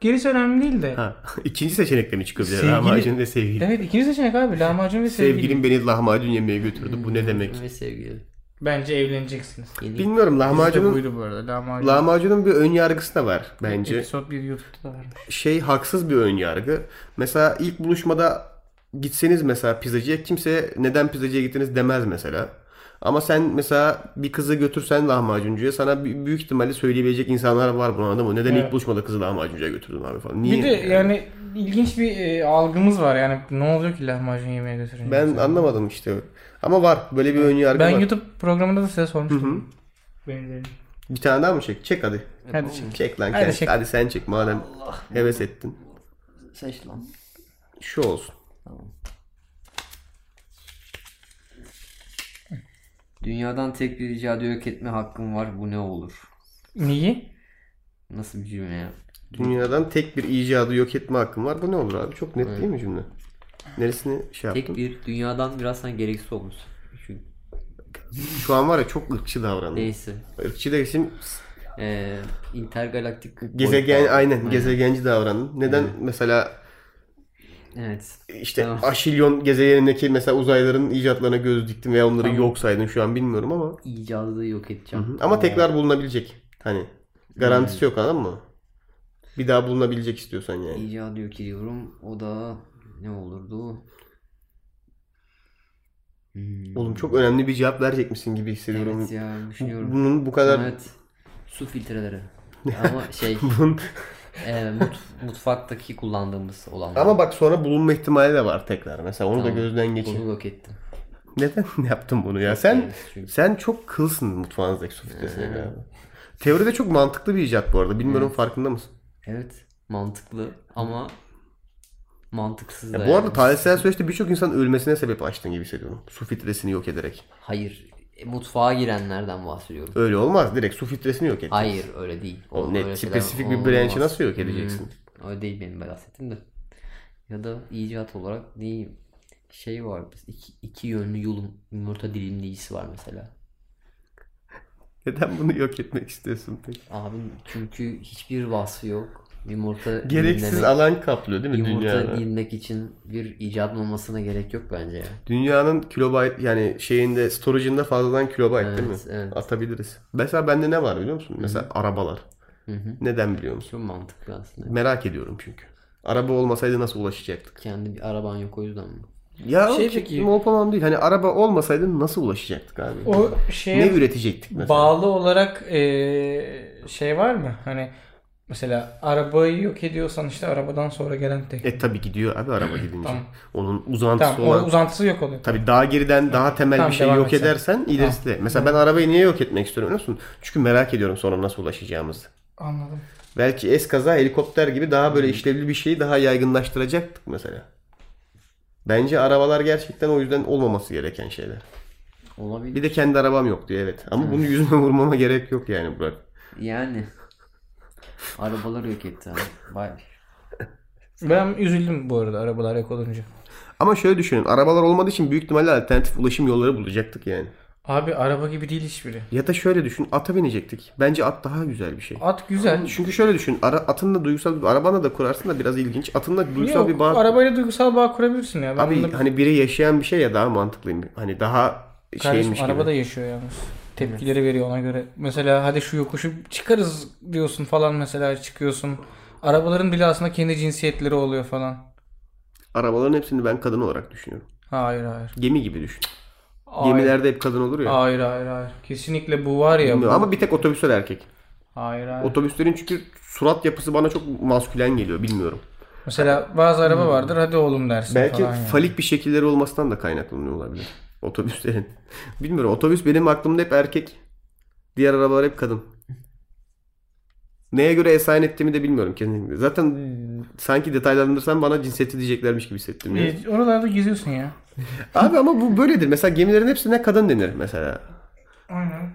Speaker 3: Gerisi önemli değil de.
Speaker 1: Ha. İkinci seçenekten mi çıkıyor?
Speaker 3: Sevgili-
Speaker 1: Sevgili... Lahmacun ve sevgili.
Speaker 3: Evet ikinci seçenek abi. Lahmacun ve sevgili. Hmm.
Speaker 1: Sevgilim beni lahmacun yemeye götürdü. Bu ne demek?
Speaker 4: ve sevgili.
Speaker 3: Bence evleneceksiniz.
Speaker 4: Yeni
Speaker 1: Bilmiyorum
Speaker 3: Lahmacun...
Speaker 1: lahmacunun
Speaker 3: buydu bu arada. Lahmacun.
Speaker 1: lahmacunun bir ön yargısı da var bence.
Speaker 3: Episode bir YouTube'da da var.
Speaker 1: şey haksız bir önyargı. Mesela ilk buluşmada gitseniz mesela pizzacıya kimse neden pizzacıya gittiniz demez mesela. Ama sen mesela bir kızı götürsen lahmacuncuya sana b- büyük ihtimalle söyleyebilecek insanlar var bunu anladın mı? Neden
Speaker 3: Evet.
Speaker 1: ilk buluşmada kızı lahmacuncuya götürdün abi falan. Niye?
Speaker 3: Bir de yani, ilginç bir e, algımız var. Yani ne oluyor ki lahmacun yemeye götürünce?
Speaker 1: Ben
Speaker 3: mesela?
Speaker 1: anlamadım işte. Ama var böyle bir önyargı
Speaker 3: Ben
Speaker 1: var.
Speaker 3: YouTube programında da size sormuştum. Benzerini.
Speaker 1: Bir tane daha mı çek? Çek hadi.
Speaker 3: Hadi şimdi.
Speaker 1: Çek lan
Speaker 3: Hadi
Speaker 1: kendisi.
Speaker 3: çek.
Speaker 1: hadi sen çek madem heves ettin.
Speaker 4: seç lan.
Speaker 1: Şu olsun.
Speaker 4: Dünyadan tek bir icadı yok etme hakkım var. Bu ne olur?
Speaker 3: Neyi?
Speaker 4: Nasıl bir cümle ya?
Speaker 1: Dünyadan tek bir icadı yok etme hakkım var. Bu ne olur abi? Çok net değil mi cümle? Neresini şey yaptım?
Speaker 4: Tek bir dünyadan biraz sen gereksiz olmuş. Çünkü
Speaker 1: Şu an var ya çok ırkçı davranıyor.
Speaker 4: neyse.
Speaker 1: Irkçı da şimdi
Speaker 4: Ee, intergalaktik
Speaker 1: gezegen
Speaker 4: boyutlar.
Speaker 1: aynen gezegenci davranın. Neden mesela
Speaker 4: Evet.
Speaker 1: işte
Speaker 4: Tamam.
Speaker 1: Aşilyon gezegenindeki mesela uzaylıların icatlarına göz diktin veya onları yok saydın şu an bilmiyorum ama.
Speaker 4: İcadı yok edeceğim. Ee,
Speaker 1: Ama tekrar bulunabilecek. Hani garantisi
Speaker 4: Hmm.
Speaker 1: yok anladın mı? Bir daha bulunabilecek istiyorsan yani.
Speaker 4: İcadı yok ediyorum. O da ne olurdu? Hmm.
Speaker 1: Oğlum çok önemli bir cevap verecekmişsin gibi hissediyorum.
Speaker 4: Evet ya düşünüyorum.
Speaker 1: Bunun bu kadar
Speaker 4: Evet. Su filtreleri. Ama şey
Speaker 1: bunun
Speaker 4: e, mut- mutfaktaki kullandığımız olan.
Speaker 1: ama bak sonra bulunma ihtimali de var tekrar. Mesela onu
Speaker 4: Tamam.
Speaker 1: da gözden geçir.
Speaker 4: Bunu yok ettim.
Speaker 1: Neden yaptın bunu ya? Sen
Speaker 4: Evet, çünkü-
Speaker 1: sen çok kılsın mutfağınızdaki su
Speaker 4: Ee.
Speaker 1: filtresine galiba. Teoride çok mantıklı bir icat bu arada. Bilmiyorum farkında mısın?
Speaker 4: Evet. Mantıklı ama mantıksız
Speaker 1: Ya
Speaker 4: da
Speaker 1: bu
Speaker 4: yani.
Speaker 1: arada tarihsel süreçte birçok insan ölmesine sebep açtın gibi hissediyorum. Su filtresini yok ederek.
Speaker 4: Hayır. e, mutfağa girenlerden bahsediyorum.
Speaker 1: Öyle olmaz. Direkt su filtresini yok edeceksin.
Speaker 4: Hayır öyle değil.
Speaker 1: O
Speaker 4: Öyle
Speaker 1: net
Speaker 4: şeyler
Speaker 1: spesifik bir
Speaker 4: olmaz.
Speaker 1: branch'i nasıl yok edeceksin?
Speaker 4: Öyle değil benim bahsettiğim de. Ya da icat olarak ne şey var. İki, iki yönlü yulum yumurta dilimleyicisi var mesela.
Speaker 1: Neden bunu yok etmek istiyorsun peki?
Speaker 4: Abim çünkü hiçbir vasfı yok. Yumurta
Speaker 1: Gereksiz
Speaker 4: dilimlemek-
Speaker 1: alan kaplıyor değil mi
Speaker 4: Yumurta
Speaker 1: dünyada?
Speaker 4: dilimlemek için bir icat olmasına gerek yok bence ya.
Speaker 1: Dünyanın kilobayt yani şeyinde storage'ında fazladan kilobayt değil mi?
Speaker 4: Evet, evet.
Speaker 1: Atabiliriz. Mesela bende ne var biliyor musun? Mesela arabalar.
Speaker 4: Hı hı.
Speaker 1: Neden biliyor musun?
Speaker 4: Çok mantıklı aslında.
Speaker 1: Merak ediyorum çünkü. Araba olmasaydı nasıl ulaşacaktık?
Speaker 4: Kendi bir araban yok o yüzden mi?
Speaker 1: Ya
Speaker 3: Şey
Speaker 1: şey
Speaker 3: peki-
Speaker 1: o falan değil. Hani araba olmasaydı nasıl ulaşacaktık abi?
Speaker 3: O
Speaker 1: Ne
Speaker 3: şeye
Speaker 1: üretecektik mesela?
Speaker 3: bağlı olarak eee, şey var mı? Hani mesela arabayı yok ediyorsan işte arabadan sonra gelen tek.
Speaker 1: E tabi gidiyor abi araba gidince.
Speaker 3: Tamam.
Speaker 1: Onun uzantısı
Speaker 3: tamam
Speaker 1: olan.
Speaker 3: o uzantısı yok oluyor.
Speaker 1: Tabii daha geriden daha temel
Speaker 3: Tamam,
Speaker 1: bir şey
Speaker 3: devam
Speaker 1: yok
Speaker 3: et sen.
Speaker 1: edersen ilerisi de. Mesela ben arabayı niye yok etmek istiyorum biliyor musun? Çünkü merak ediyorum sonra nasıl ulaşacağımızı.
Speaker 3: Anladım.
Speaker 1: Belki eskaza helikopter gibi daha
Speaker 3: Hmm.
Speaker 1: böyle işlevli bir şeyi daha yaygınlaştıracaktık mesela. Bence arabalar gerçekten o yüzden olmaması gereken şeyler.
Speaker 4: Olabilir.
Speaker 1: Bir de kendi arabam yok diyor evet. Ama
Speaker 3: Hmm.
Speaker 1: bunu yüzüme vurmama gerek yok yani Burak.
Speaker 4: Yani. Arabalar yok etti abi. Vay.
Speaker 3: Ben üzüldüm bu arada arabalar yok olunca.
Speaker 1: Ama şöyle düşünün. Arabalar olmadığı için büyük ihtimalle alternatif ulaşım yolları bulacaktık yani.
Speaker 3: Abi araba gibi değil hiçbiri.
Speaker 1: Ya da şöyle düşün. Ata binecektik. Bence at daha güzel bir şey.
Speaker 3: At güzel.
Speaker 1: Çünkü şöyle düşün. Ara, atınla duygusal arabanla da kurarsın da biraz ilginç. Atınla duygusal
Speaker 3: Yok,
Speaker 1: bir bağ.
Speaker 3: arabayla duygusal bağ kurabilirsin ya. Ben
Speaker 1: Abi
Speaker 3: bunda-
Speaker 1: hani biri yaşayan bir şey ya daha mantıklıyım. Hani daha
Speaker 3: Kardeşim
Speaker 1: şeymiş gibi.
Speaker 3: araba da yaşıyor yalnız. Tepkileri veriyor ona göre. Mesela hadi şu yokuşu çıkarız diyorsun falan mesela çıkıyorsun. Arabaların bile aslında kendi cinsiyetleri oluyor falan.
Speaker 1: Arabaların hepsini ben kadın olarak düşünüyorum.
Speaker 3: Hayır hayır.
Speaker 1: Gemi gibi düşün.
Speaker 3: Hayır.
Speaker 1: Gemilerde hep kadın olur ya.
Speaker 3: Hayır hayır hayır. Kesinlikle bu var ya. bu-
Speaker 1: Bilmiyorum Ama bir tek otobüsler erkek.
Speaker 3: Hayır hayır.
Speaker 1: Otobüslerin çünkü surat yapısı bana çok maskülen geliyor bilmiyorum.
Speaker 3: Mesela bazı araba vardır hadi oğlum dersin
Speaker 1: Hmm. Belki
Speaker 3: falan. yani.
Speaker 1: falik bir şekilleri olmasından da kaynaklanıyor olabilir. Otobüslerin. Bilmiyorum otobüs benim aklımda hep erkek. Diğer arabalar hep kadın. Neye göre esayen ettiğimi de bilmiyorum kesinlikle. Zaten sanki detaylandırsam bana cinsiyeti diyeceklermiş gibi hissettim. ya.
Speaker 3: E, oralarda geziyorsun ya.
Speaker 1: Abi ama bu böyledir. Mesela gemilerin hepsine kadın denir mesela.
Speaker 3: Aynen.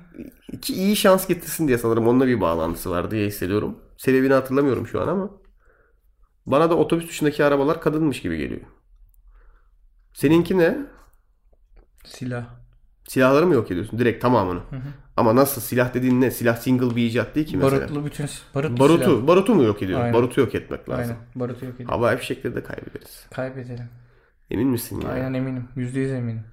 Speaker 1: İki iyi şans getirsin diye sanırım onunla bir bağlantısı var diye hissediyorum. Sebebini hatırlamıyorum şu an ama. Bana da otobüs dışındaki arabalar kadınmış gibi geliyor. Seninki ne?
Speaker 3: Silah.
Speaker 1: Silahları mı yok ediyorsun? Direkt tamamını. Ama nasıl? Silah dediğin ne? Silah single bir icat değil ki mesela.
Speaker 3: Barutlu bütün barutlu
Speaker 1: Barutu.
Speaker 3: silah.
Speaker 1: Barutu mu yok ediyorsun?
Speaker 3: Aynen.
Speaker 1: Barutu yok etmek lazım.
Speaker 3: Aynen. Barutu yok edin.
Speaker 1: Hava fişekleri de kaybederiz.
Speaker 3: Kaybedelim.
Speaker 1: Emin misin ya?
Speaker 3: Aynen eminim. Yüzde yüz eminim.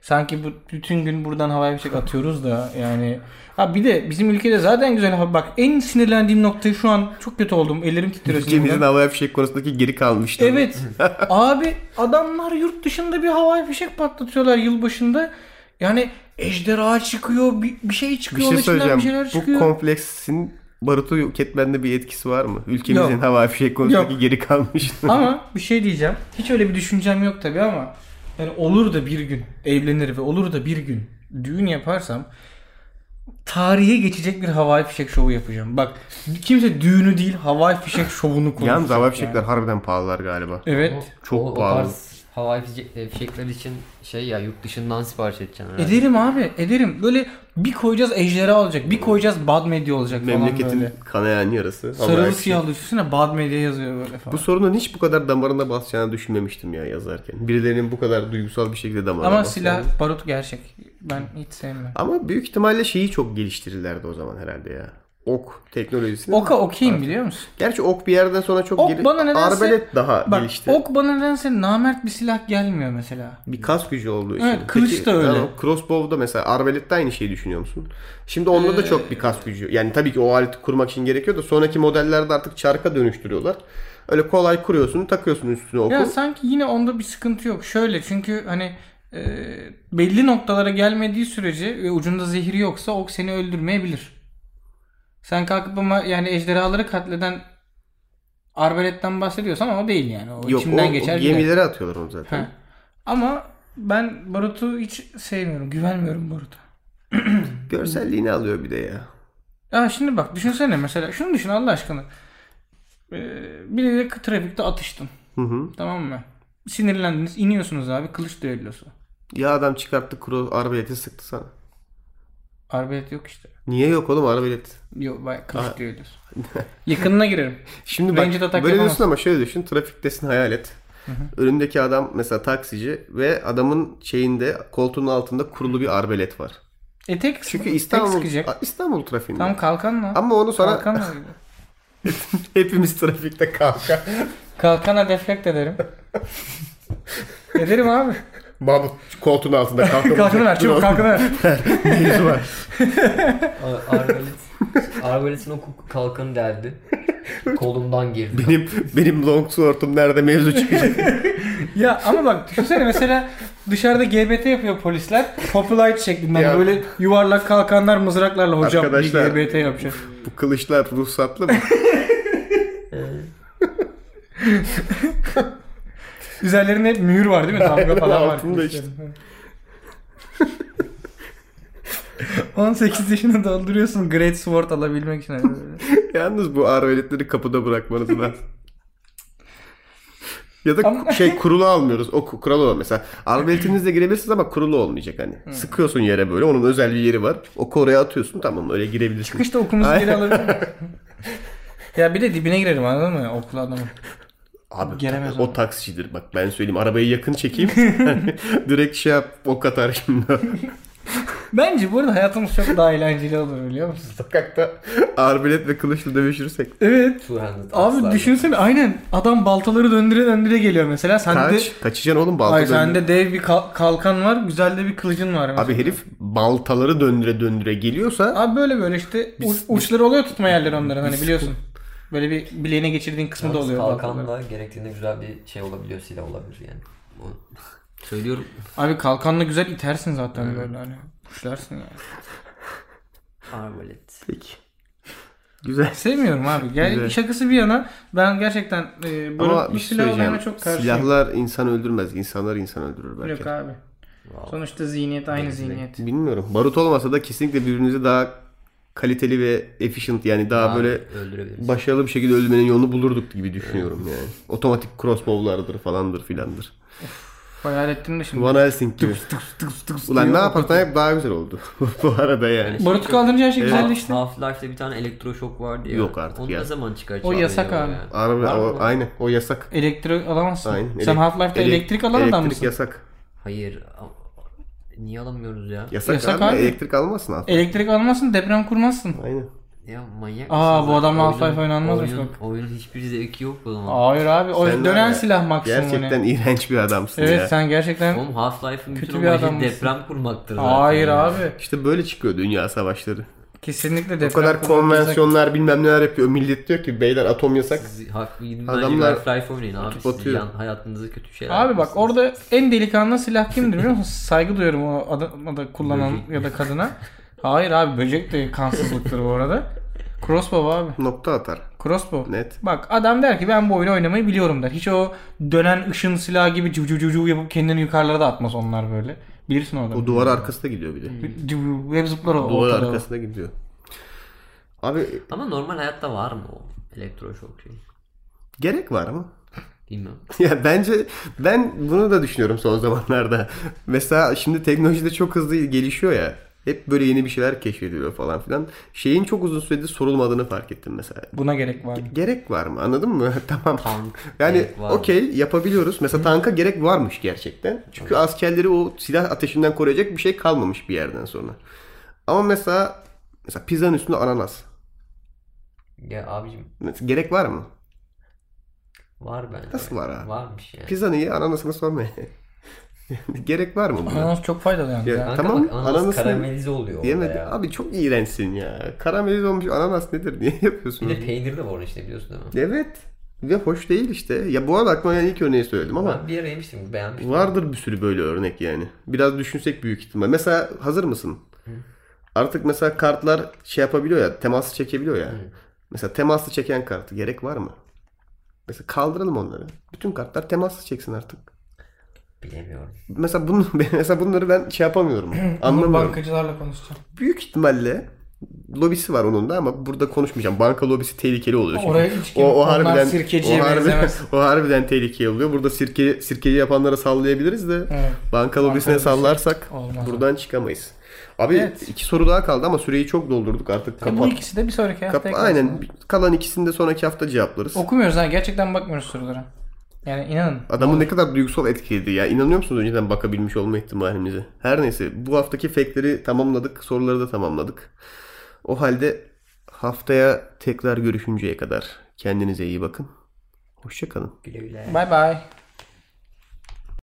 Speaker 3: Sanki bu bütün gün buradan havai fişek atıyoruz da yani. Ha bir de bizim ülkede zaten güzel hava. Bak en sinirlendiğim noktayı şu an çok kötü oldum. Ellerim titriyor.
Speaker 1: Ülkemizin
Speaker 3: sinirden.
Speaker 1: havai fişek konusundaki geri kalmıştı.
Speaker 3: Evet. Abi adamlar yurt dışında bir havai fişek patlatıyorlar yılbaşında. Yani ejderha çıkıyor, bir, bir şey
Speaker 1: Bir
Speaker 3: çıkıyor,
Speaker 1: şey
Speaker 3: onun içinden
Speaker 1: söyleyeceğim.
Speaker 3: bir şeyler
Speaker 1: Bu
Speaker 3: çıkıyor.
Speaker 1: kompleksin barutu yok etmende bir etkisi var mı? Ülkemizin
Speaker 3: Yok.
Speaker 1: hava fişek konusundaki
Speaker 3: Yok.
Speaker 1: geri kalmış.
Speaker 3: ama bir şey diyeceğim. Hiç öyle bir düşüncem yok tabii ama yani olur da bir gün evlenir ve olur da bir gün düğün yaparsam tarihe geçecek bir havai fişek şovu yapacağım. Bak kimse düğünü değil havai fişek şovunu konuşuyor.
Speaker 1: Yalnız hava
Speaker 3: yani.
Speaker 1: fişekler harbiden pahalılar galiba.
Speaker 3: Evet.
Speaker 1: Çok
Speaker 4: o, o
Speaker 1: pahalı.
Speaker 4: tarz havai fişek- e, fişekler için şey ya yurt dışından sipariş edeceksin herhalde.
Speaker 3: Ederim abi ederim. Böyle bir koyacağız ejderha olacak. Bir koyacağız bad medya olacak falan
Speaker 1: Memleketin
Speaker 3: böyle.
Speaker 1: kanayan yarası.
Speaker 3: Sarılı
Speaker 1: Ama-
Speaker 3: siyahlı üstüne bad medya yazıyor böyle
Speaker 1: Bu
Speaker 3: falan.
Speaker 1: sorunun hiç bu kadar damarına basacağını düşünmemiştim ya yazarken. Birilerinin bu kadar duygusal bir şekilde damarına
Speaker 3: Ama
Speaker 1: basacağını.
Speaker 3: silah barut gerçek. Ben hiç sevmem.
Speaker 1: Ama büyük ihtimalle şeyi çok geliştirirlerdi o zaman herhalde ya. Ok teknolojisini.
Speaker 3: Oka okeyim biliyor musun?
Speaker 1: Gerçi ok bir yerden sonra çok
Speaker 3: Ok
Speaker 1: geri...
Speaker 3: bana nedense-
Speaker 1: Arbelet daha
Speaker 3: Bak
Speaker 1: gelişti.
Speaker 3: ok bana nedense namert bir silah gelmiyor mesela.
Speaker 1: Bir kas gücü olduğu için.
Speaker 3: Evet, kılıç da öyle.
Speaker 1: yani o crossbow'da mesela arbelette aynı şeyi düşünüyor musun? Şimdi onda da
Speaker 3: Ee,
Speaker 1: çok bir kas gücü. Yani tabii ki o aleti kurmak için gerekiyor da sonraki modellerde artık çarka dönüştürüyorlar. Öyle kolay kuruyorsun, takıyorsun üstüne oku.
Speaker 3: Ya sanki yine onda bir sıkıntı yok. Şöyle çünkü hani e, belli noktalara gelmediği sürece ve ucunda zehri yoksa ok seni öldürmeyebilir. Sen kalkıp ama yani ejderhaları katleden arbaletten bahsediyorsan ama o değil yani. O
Speaker 1: Yok,
Speaker 3: içimden
Speaker 1: o,
Speaker 3: geçer.
Speaker 1: o
Speaker 3: gider.
Speaker 1: gemilere atıyorlar onu zaten.
Speaker 3: Ha. Ama ben Barut'u hiç sevmiyorum. Güvenmiyorum Barut'a.
Speaker 1: Görselliğini alıyor bir de ya.
Speaker 3: Ya şimdi bak düşünsene mesela. Şunu düşün Allah aşkına. Ee, biriyle trafikte atıştın.
Speaker 1: Hı hı.
Speaker 3: Tamam mı? Sinirlendiniz. iniyorsunuz abi. Kılıç düellosu.
Speaker 1: Ya adam çıkarttı kuru arbeleti sıktı sana.
Speaker 3: Arbelet yok işte.
Speaker 1: Niye yok oğlum arbelet?
Speaker 3: Yok bay kılıç düellosu. Yakınına girerim.
Speaker 1: Şimdi bak
Speaker 3: Ranged atak
Speaker 1: böyle
Speaker 3: yapamaz.
Speaker 1: diyorsun ama şöyle düşün. Trafiktesin hayal et. Önündeki adam mesela taksici ve adamın şeyinde koltuğunun altında kurulu bir arbelet var.
Speaker 3: E tek,
Speaker 1: Çünkü
Speaker 3: tek
Speaker 1: İstanbul
Speaker 3: sıkacak.
Speaker 1: İstanbul trafiğinde.
Speaker 3: Tam kalkanla.
Speaker 1: Ama onu sonra
Speaker 3: Kalkanla gibi.
Speaker 1: hepimiz trafikte kavga.
Speaker 3: Kalkana deflekt ederim. ederim abi.
Speaker 1: Mahmut koltuğun altında kavga.
Speaker 3: Kalkanı ver. Çabuk kalkanı ver.
Speaker 1: var.
Speaker 4: A- Arbalet. Arbaletin oku kalkanı derdi. Kolumdan girdi.
Speaker 1: Benim benim longsword'um nerede mevzu çıkacak?
Speaker 3: Ya ama bak düşünsene mesela dışarıda GBT yapıyor polisler. Populite şeklinde
Speaker 1: Ya.
Speaker 3: böyle yuvarlak kalkanlar mızraklarla hocam
Speaker 1: Arkadaşlar.
Speaker 3: bir GBT yapacak.
Speaker 1: Bu kılıçlar ruhsatlı mı?
Speaker 3: Üzerlerinde hep mühür var değil mi? Damga falan var.
Speaker 1: altında işte.
Speaker 3: kılıçların. 18 yaşını dolduruyorsun Great Sword alabilmek için. hani böyle.
Speaker 1: Yalnız bu arveletleri kapıda bırakmanız lazım. ya da
Speaker 3: Ama-
Speaker 1: şey kurulu almıyoruz. O ku- kuralı olan mesela. Arveletinizle girebilirsiniz ama kurulu olmayacak hani.
Speaker 3: Hmm.
Speaker 1: Sıkıyorsun yere böyle. Onun özel bir yeri var. O oraya atıyorsun tamam öyle girebilirsin.
Speaker 3: Kış da okumuzu geri alabilir miyim? Ya bir de dibine girerim anladın mı? Okula adamı.
Speaker 1: Abi
Speaker 3: Giremez
Speaker 1: o
Speaker 3: ama.
Speaker 1: taksicidir bak ben söyleyeyim. Arabayı yakın çekeyim. Direkt şey yap ok atar şimdi.
Speaker 3: Bence bu arada hayatımız çok daha eğlenceli olur biliyor musun?
Speaker 1: Sokakta arbelet ve kılıçla dövüşürsek.
Speaker 3: Evet.
Speaker 4: Two handed
Speaker 3: Abi düşünsene aynen adam baltaları döndüre döndüre geliyor mesela. Sen de
Speaker 1: Kaç. Kaçacaksın oğlum balta
Speaker 3: Ay
Speaker 1: döndüre.
Speaker 3: sende dev bir kal- kalkan var, güzel de bir kılıcın var. mesela.
Speaker 1: Abi herif baltaları döndüre döndüre geliyorsa
Speaker 3: Abi böyle böyle işte u- uçları oluyor tutma yerleri onların hani biliyorsun. Böyle bir bileğine geçirdiğin kısmı da oluyor. baltaların.
Speaker 4: Kalkanla gerektiğinde güzel bir şey olabiliyor, silah olabilir yani. O- Söylüyorum.
Speaker 3: Abi kalkanla güzel itersin zaten böyle hani. Kuşlarsın yani.
Speaker 4: Arbalet.
Speaker 1: Peki. Güzel.
Speaker 3: Sevmiyorum abi.
Speaker 1: Güzel.
Speaker 3: Yani şakası bir yana ben gerçekten e, böyle
Speaker 1: Ama
Speaker 3: bir
Speaker 1: bir şey
Speaker 3: silah
Speaker 1: söyleyeceğim.
Speaker 3: olayına çok karşıyım.
Speaker 1: Silahlar insan öldürmez. İnsanlar insan öldürür belki.
Speaker 3: Yok abi. Sonuçta zihniyet aynı zihniyet.
Speaker 1: Bilmiyorum. Barut olmasa da kesinlikle birbirinizi daha kaliteli ve efficient yani daha böyle
Speaker 4: öldürebiliriz.
Speaker 1: başarılı bir şekilde öldürmenin yolunu bulurduk gibi düşünüyorum yani. Otomatik crossbow'lardır falandır filandır.
Speaker 3: Hayal ettim de şimdi.
Speaker 1: Van Helsing gibi. Ulan ne
Speaker 3: diyor.
Speaker 1: yaparsan hep daha güzel oldu. Bu arada yani.
Speaker 3: Barut kaldırınca her şey güzelleşti.
Speaker 4: Half-Life'de bir tane elektroşok vardı ya.
Speaker 1: Yok artık
Speaker 4: Onu
Speaker 1: ya.
Speaker 4: ne zaman çıkaracak?
Speaker 3: O yasak abi.
Speaker 1: Harbi,
Speaker 4: Var
Speaker 1: o,
Speaker 4: mı?
Speaker 1: aynı. O yasak.
Speaker 3: Elektrik alamazsın.
Speaker 1: Aynı.
Speaker 3: Sen
Speaker 1: Elek-
Speaker 3: Half-Life'de
Speaker 1: elek-
Speaker 3: elektrik alan adam
Speaker 1: Elektrik
Speaker 3: mısın?
Speaker 1: yasak.
Speaker 4: Hayır. a- Niye alamıyoruz ya?
Speaker 1: Yasak,
Speaker 3: Yasak
Speaker 1: abi.
Speaker 3: abi. E,
Speaker 1: Elektrik almasın abi.
Speaker 3: Elektrik almazsın, deprem kurmazsın.
Speaker 1: Aynen.
Speaker 4: Ya manyak
Speaker 3: Aa,
Speaker 4: mısınız
Speaker 3: bu
Speaker 4: lan?
Speaker 3: adamla Half-Life
Speaker 4: Oyunun-
Speaker 3: oynanmazmış
Speaker 4: oyunun-
Speaker 3: bak.
Speaker 4: Oyunun hiçbir zevki yok o zaman.
Speaker 3: Hayır abi. O
Speaker 1: Sen var
Speaker 3: dönen
Speaker 1: ya,
Speaker 3: silah maksimum.
Speaker 1: Gerçekten
Speaker 3: hani.
Speaker 1: iğrenç bir adamsın
Speaker 3: Evet
Speaker 1: ya.
Speaker 3: sen gerçekten...
Speaker 4: Oğlum Half-Life'ın
Speaker 3: Kötü
Speaker 4: bütün
Speaker 3: bir
Speaker 4: amacı
Speaker 3: adammışsın.
Speaker 4: deprem kurmaktır zaten.
Speaker 3: Hayır
Speaker 4: ya.
Speaker 3: abi.
Speaker 1: İşte böyle çıkıyor dünya savaşları.
Speaker 3: Kesinlikle
Speaker 1: O
Speaker 3: deprem
Speaker 1: kadar
Speaker 3: kurulacak.
Speaker 1: konvansiyonlar bilmem neler yapıyor. Millet diyor ki beyler atom yasak.
Speaker 4: Siz hak- bence
Speaker 1: Adamlar
Speaker 4: Half-Life oynayın abi.
Speaker 1: atıp
Speaker 4: Siz
Speaker 1: atıyor.
Speaker 4: yan, hayatınızı kötü şeyler
Speaker 3: Abi bak
Speaker 4: yapmışsınız.
Speaker 3: orada en delikanlı silah kimdir biliyor musun? Saygı duyuyorum o adama da kullanan
Speaker 4: Böcek.
Speaker 3: ya da kadına. Hayır abi böcek de kansızlıktır bu arada. Crossbow abi.
Speaker 1: Nokta atar.
Speaker 3: Crossbow.
Speaker 1: Net.
Speaker 3: Bak adam der ki ben bu oyunu oynamayı biliyorum der. Hiç o dönen ışın silahı gibi cıv cıv cıv cıv yapıp kendini yukarılara da atmaz onlar böyle. Bilirsin orada.
Speaker 1: O duvar arkasına gidiyor bir de.
Speaker 3: Cıv cıv hep zıplar
Speaker 1: Duvar
Speaker 3: o Hmm. ortada.
Speaker 1: arkasına gidiyor. Abi
Speaker 4: Ama normal hayatta var mı o elektroşok şey?
Speaker 1: gerek var mı?
Speaker 4: Bilmiyorum.
Speaker 1: Ya bence ben bunu da düşünüyorum son zamanlarda. Mesela şimdi teknoloji de çok hızlı gelişiyor ya. Hep böyle yeni bir şeyler keşfediliyor falan filan. Şeyin çok uzun süredir sorulmadığını fark ettim mesela.
Speaker 3: Buna gerek var. mı?
Speaker 1: Gerek var mı? Anladın mı? tamam.
Speaker 4: Tank
Speaker 1: Yani
Speaker 4: gerek var mı?
Speaker 1: okey yapabiliyoruz. Mesela tanka gerek varmış gerçekten. Çünkü askerleri o silah ateşinden koruyacak bir şey kalmamış bir yerden sonra. Ama mesela mesela pizzanın üstünde ananas.
Speaker 4: Ya abicim
Speaker 1: Mesela gerek var mı?
Speaker 4: var bence.
Speaker 1: Nasıl var abi?
Speaker 4: Varmış yani.
Speaker 1: Pizzanın iyi ananasını sorma. Yani gerek var mı buna?
Speaker 3: Ananas çok faydalı yalnız.
Speaker 1: Ya,
Speaker 3: ya.
Speaker 4: Kanka
Speaker 1: tamam,
Speaker 4: bak ananas
Speaker 1: ananas ne?
Speaker 4: karamelize oluyor orada
Speaker 1: Diyemedi.
Speaker 4: ya.
Speaker 1: Abi çok iğrençsin ya. Karamelize olmuş ananas nedir? Niye yapıyorsun?
Speaker 4: Bir de
Speaker 1: onu?
Speaker 4: peynir de var onun içinde biliyorsun değil mi?
Speaker 1: Evet. Ve hoş değil işte. Ya bu arada aklıma yani ilk örneği söyledim ama
Speaker 4: Ben bir ara yemiştim beğenmiştim.
Speaker 1: vardır bir sürü böyle örnek yani. Biraz düşünsek büyük ihtimal. Mesela hazır mısın? Artık mesela kartlar şey yapabiliyor ya, teması çekebiliyor ya. Mesela temaslı çeken kartı gerek var mı? Mesela kaldıralım onları. Bütün kartlar temaslı çeksin artık.
Speaker 4: Bilemiyorum.
Speaker 1: Mesela bunu mesela bunları ben şey yapamıyorum.
Speaker 3: Bunu
Speaker 1: Anlamıyorum.
Speaker 3: bankacılarla konuşacağım.
Speaker 1: Büyük ihtimalle lobisi var onun da ama burada konuşmayacağım. Banka lobisi tehlikeli oluyor çünkü.
Speaker 3: Oraya hiç kim- onlar sirkeciye
Speaker 1: o, harbiden,
Speaker 3: benzemez.
Speaker 1: o harbiden tehlikeli oluyor. Burada sirke, sirkeyi yapanlara sallayabiliriz de
Speaker 3: Evet.
Speaker 1: banka lobisine
Speaker 3: lobisi
Speaker 1: sallarsak
Speaker 3: olmaz.
Speaker 1: buradan çıkamayız. Abi
Speaker 3: Evet. E,
Speaker 1: iki soru daha kaldı ama süreyi çok doldurduk artık.
Speaker 3: Bu
Speaker 1: Kapat.
Speaker 3: ikisi de bir sonraki
Speaker 1: Kap-
Speaker 3: haftaya kalsın.
Speaker 1: aynen kalan ikisini de sonraki hafta cevaplarız.
Speaker 3: Okumuyoruz ha. Gerçekten bakmıyoruz sorulara. Yani inanın.
Speaker 1: Adamı ne kadar duygusal etkiledi ya. İnanıyor musunuz önceden bakabilmiş olma ihtimalimize? Her neyse bu haftaki fake'leri tamamladık. Soruları da tamamladık. O halde haftaya tekrar görüşünceye kadar kendinize iyi bakın. Hoşçakalın.
Speaker 4: Güle güle.
Speaker 3: Bye bye.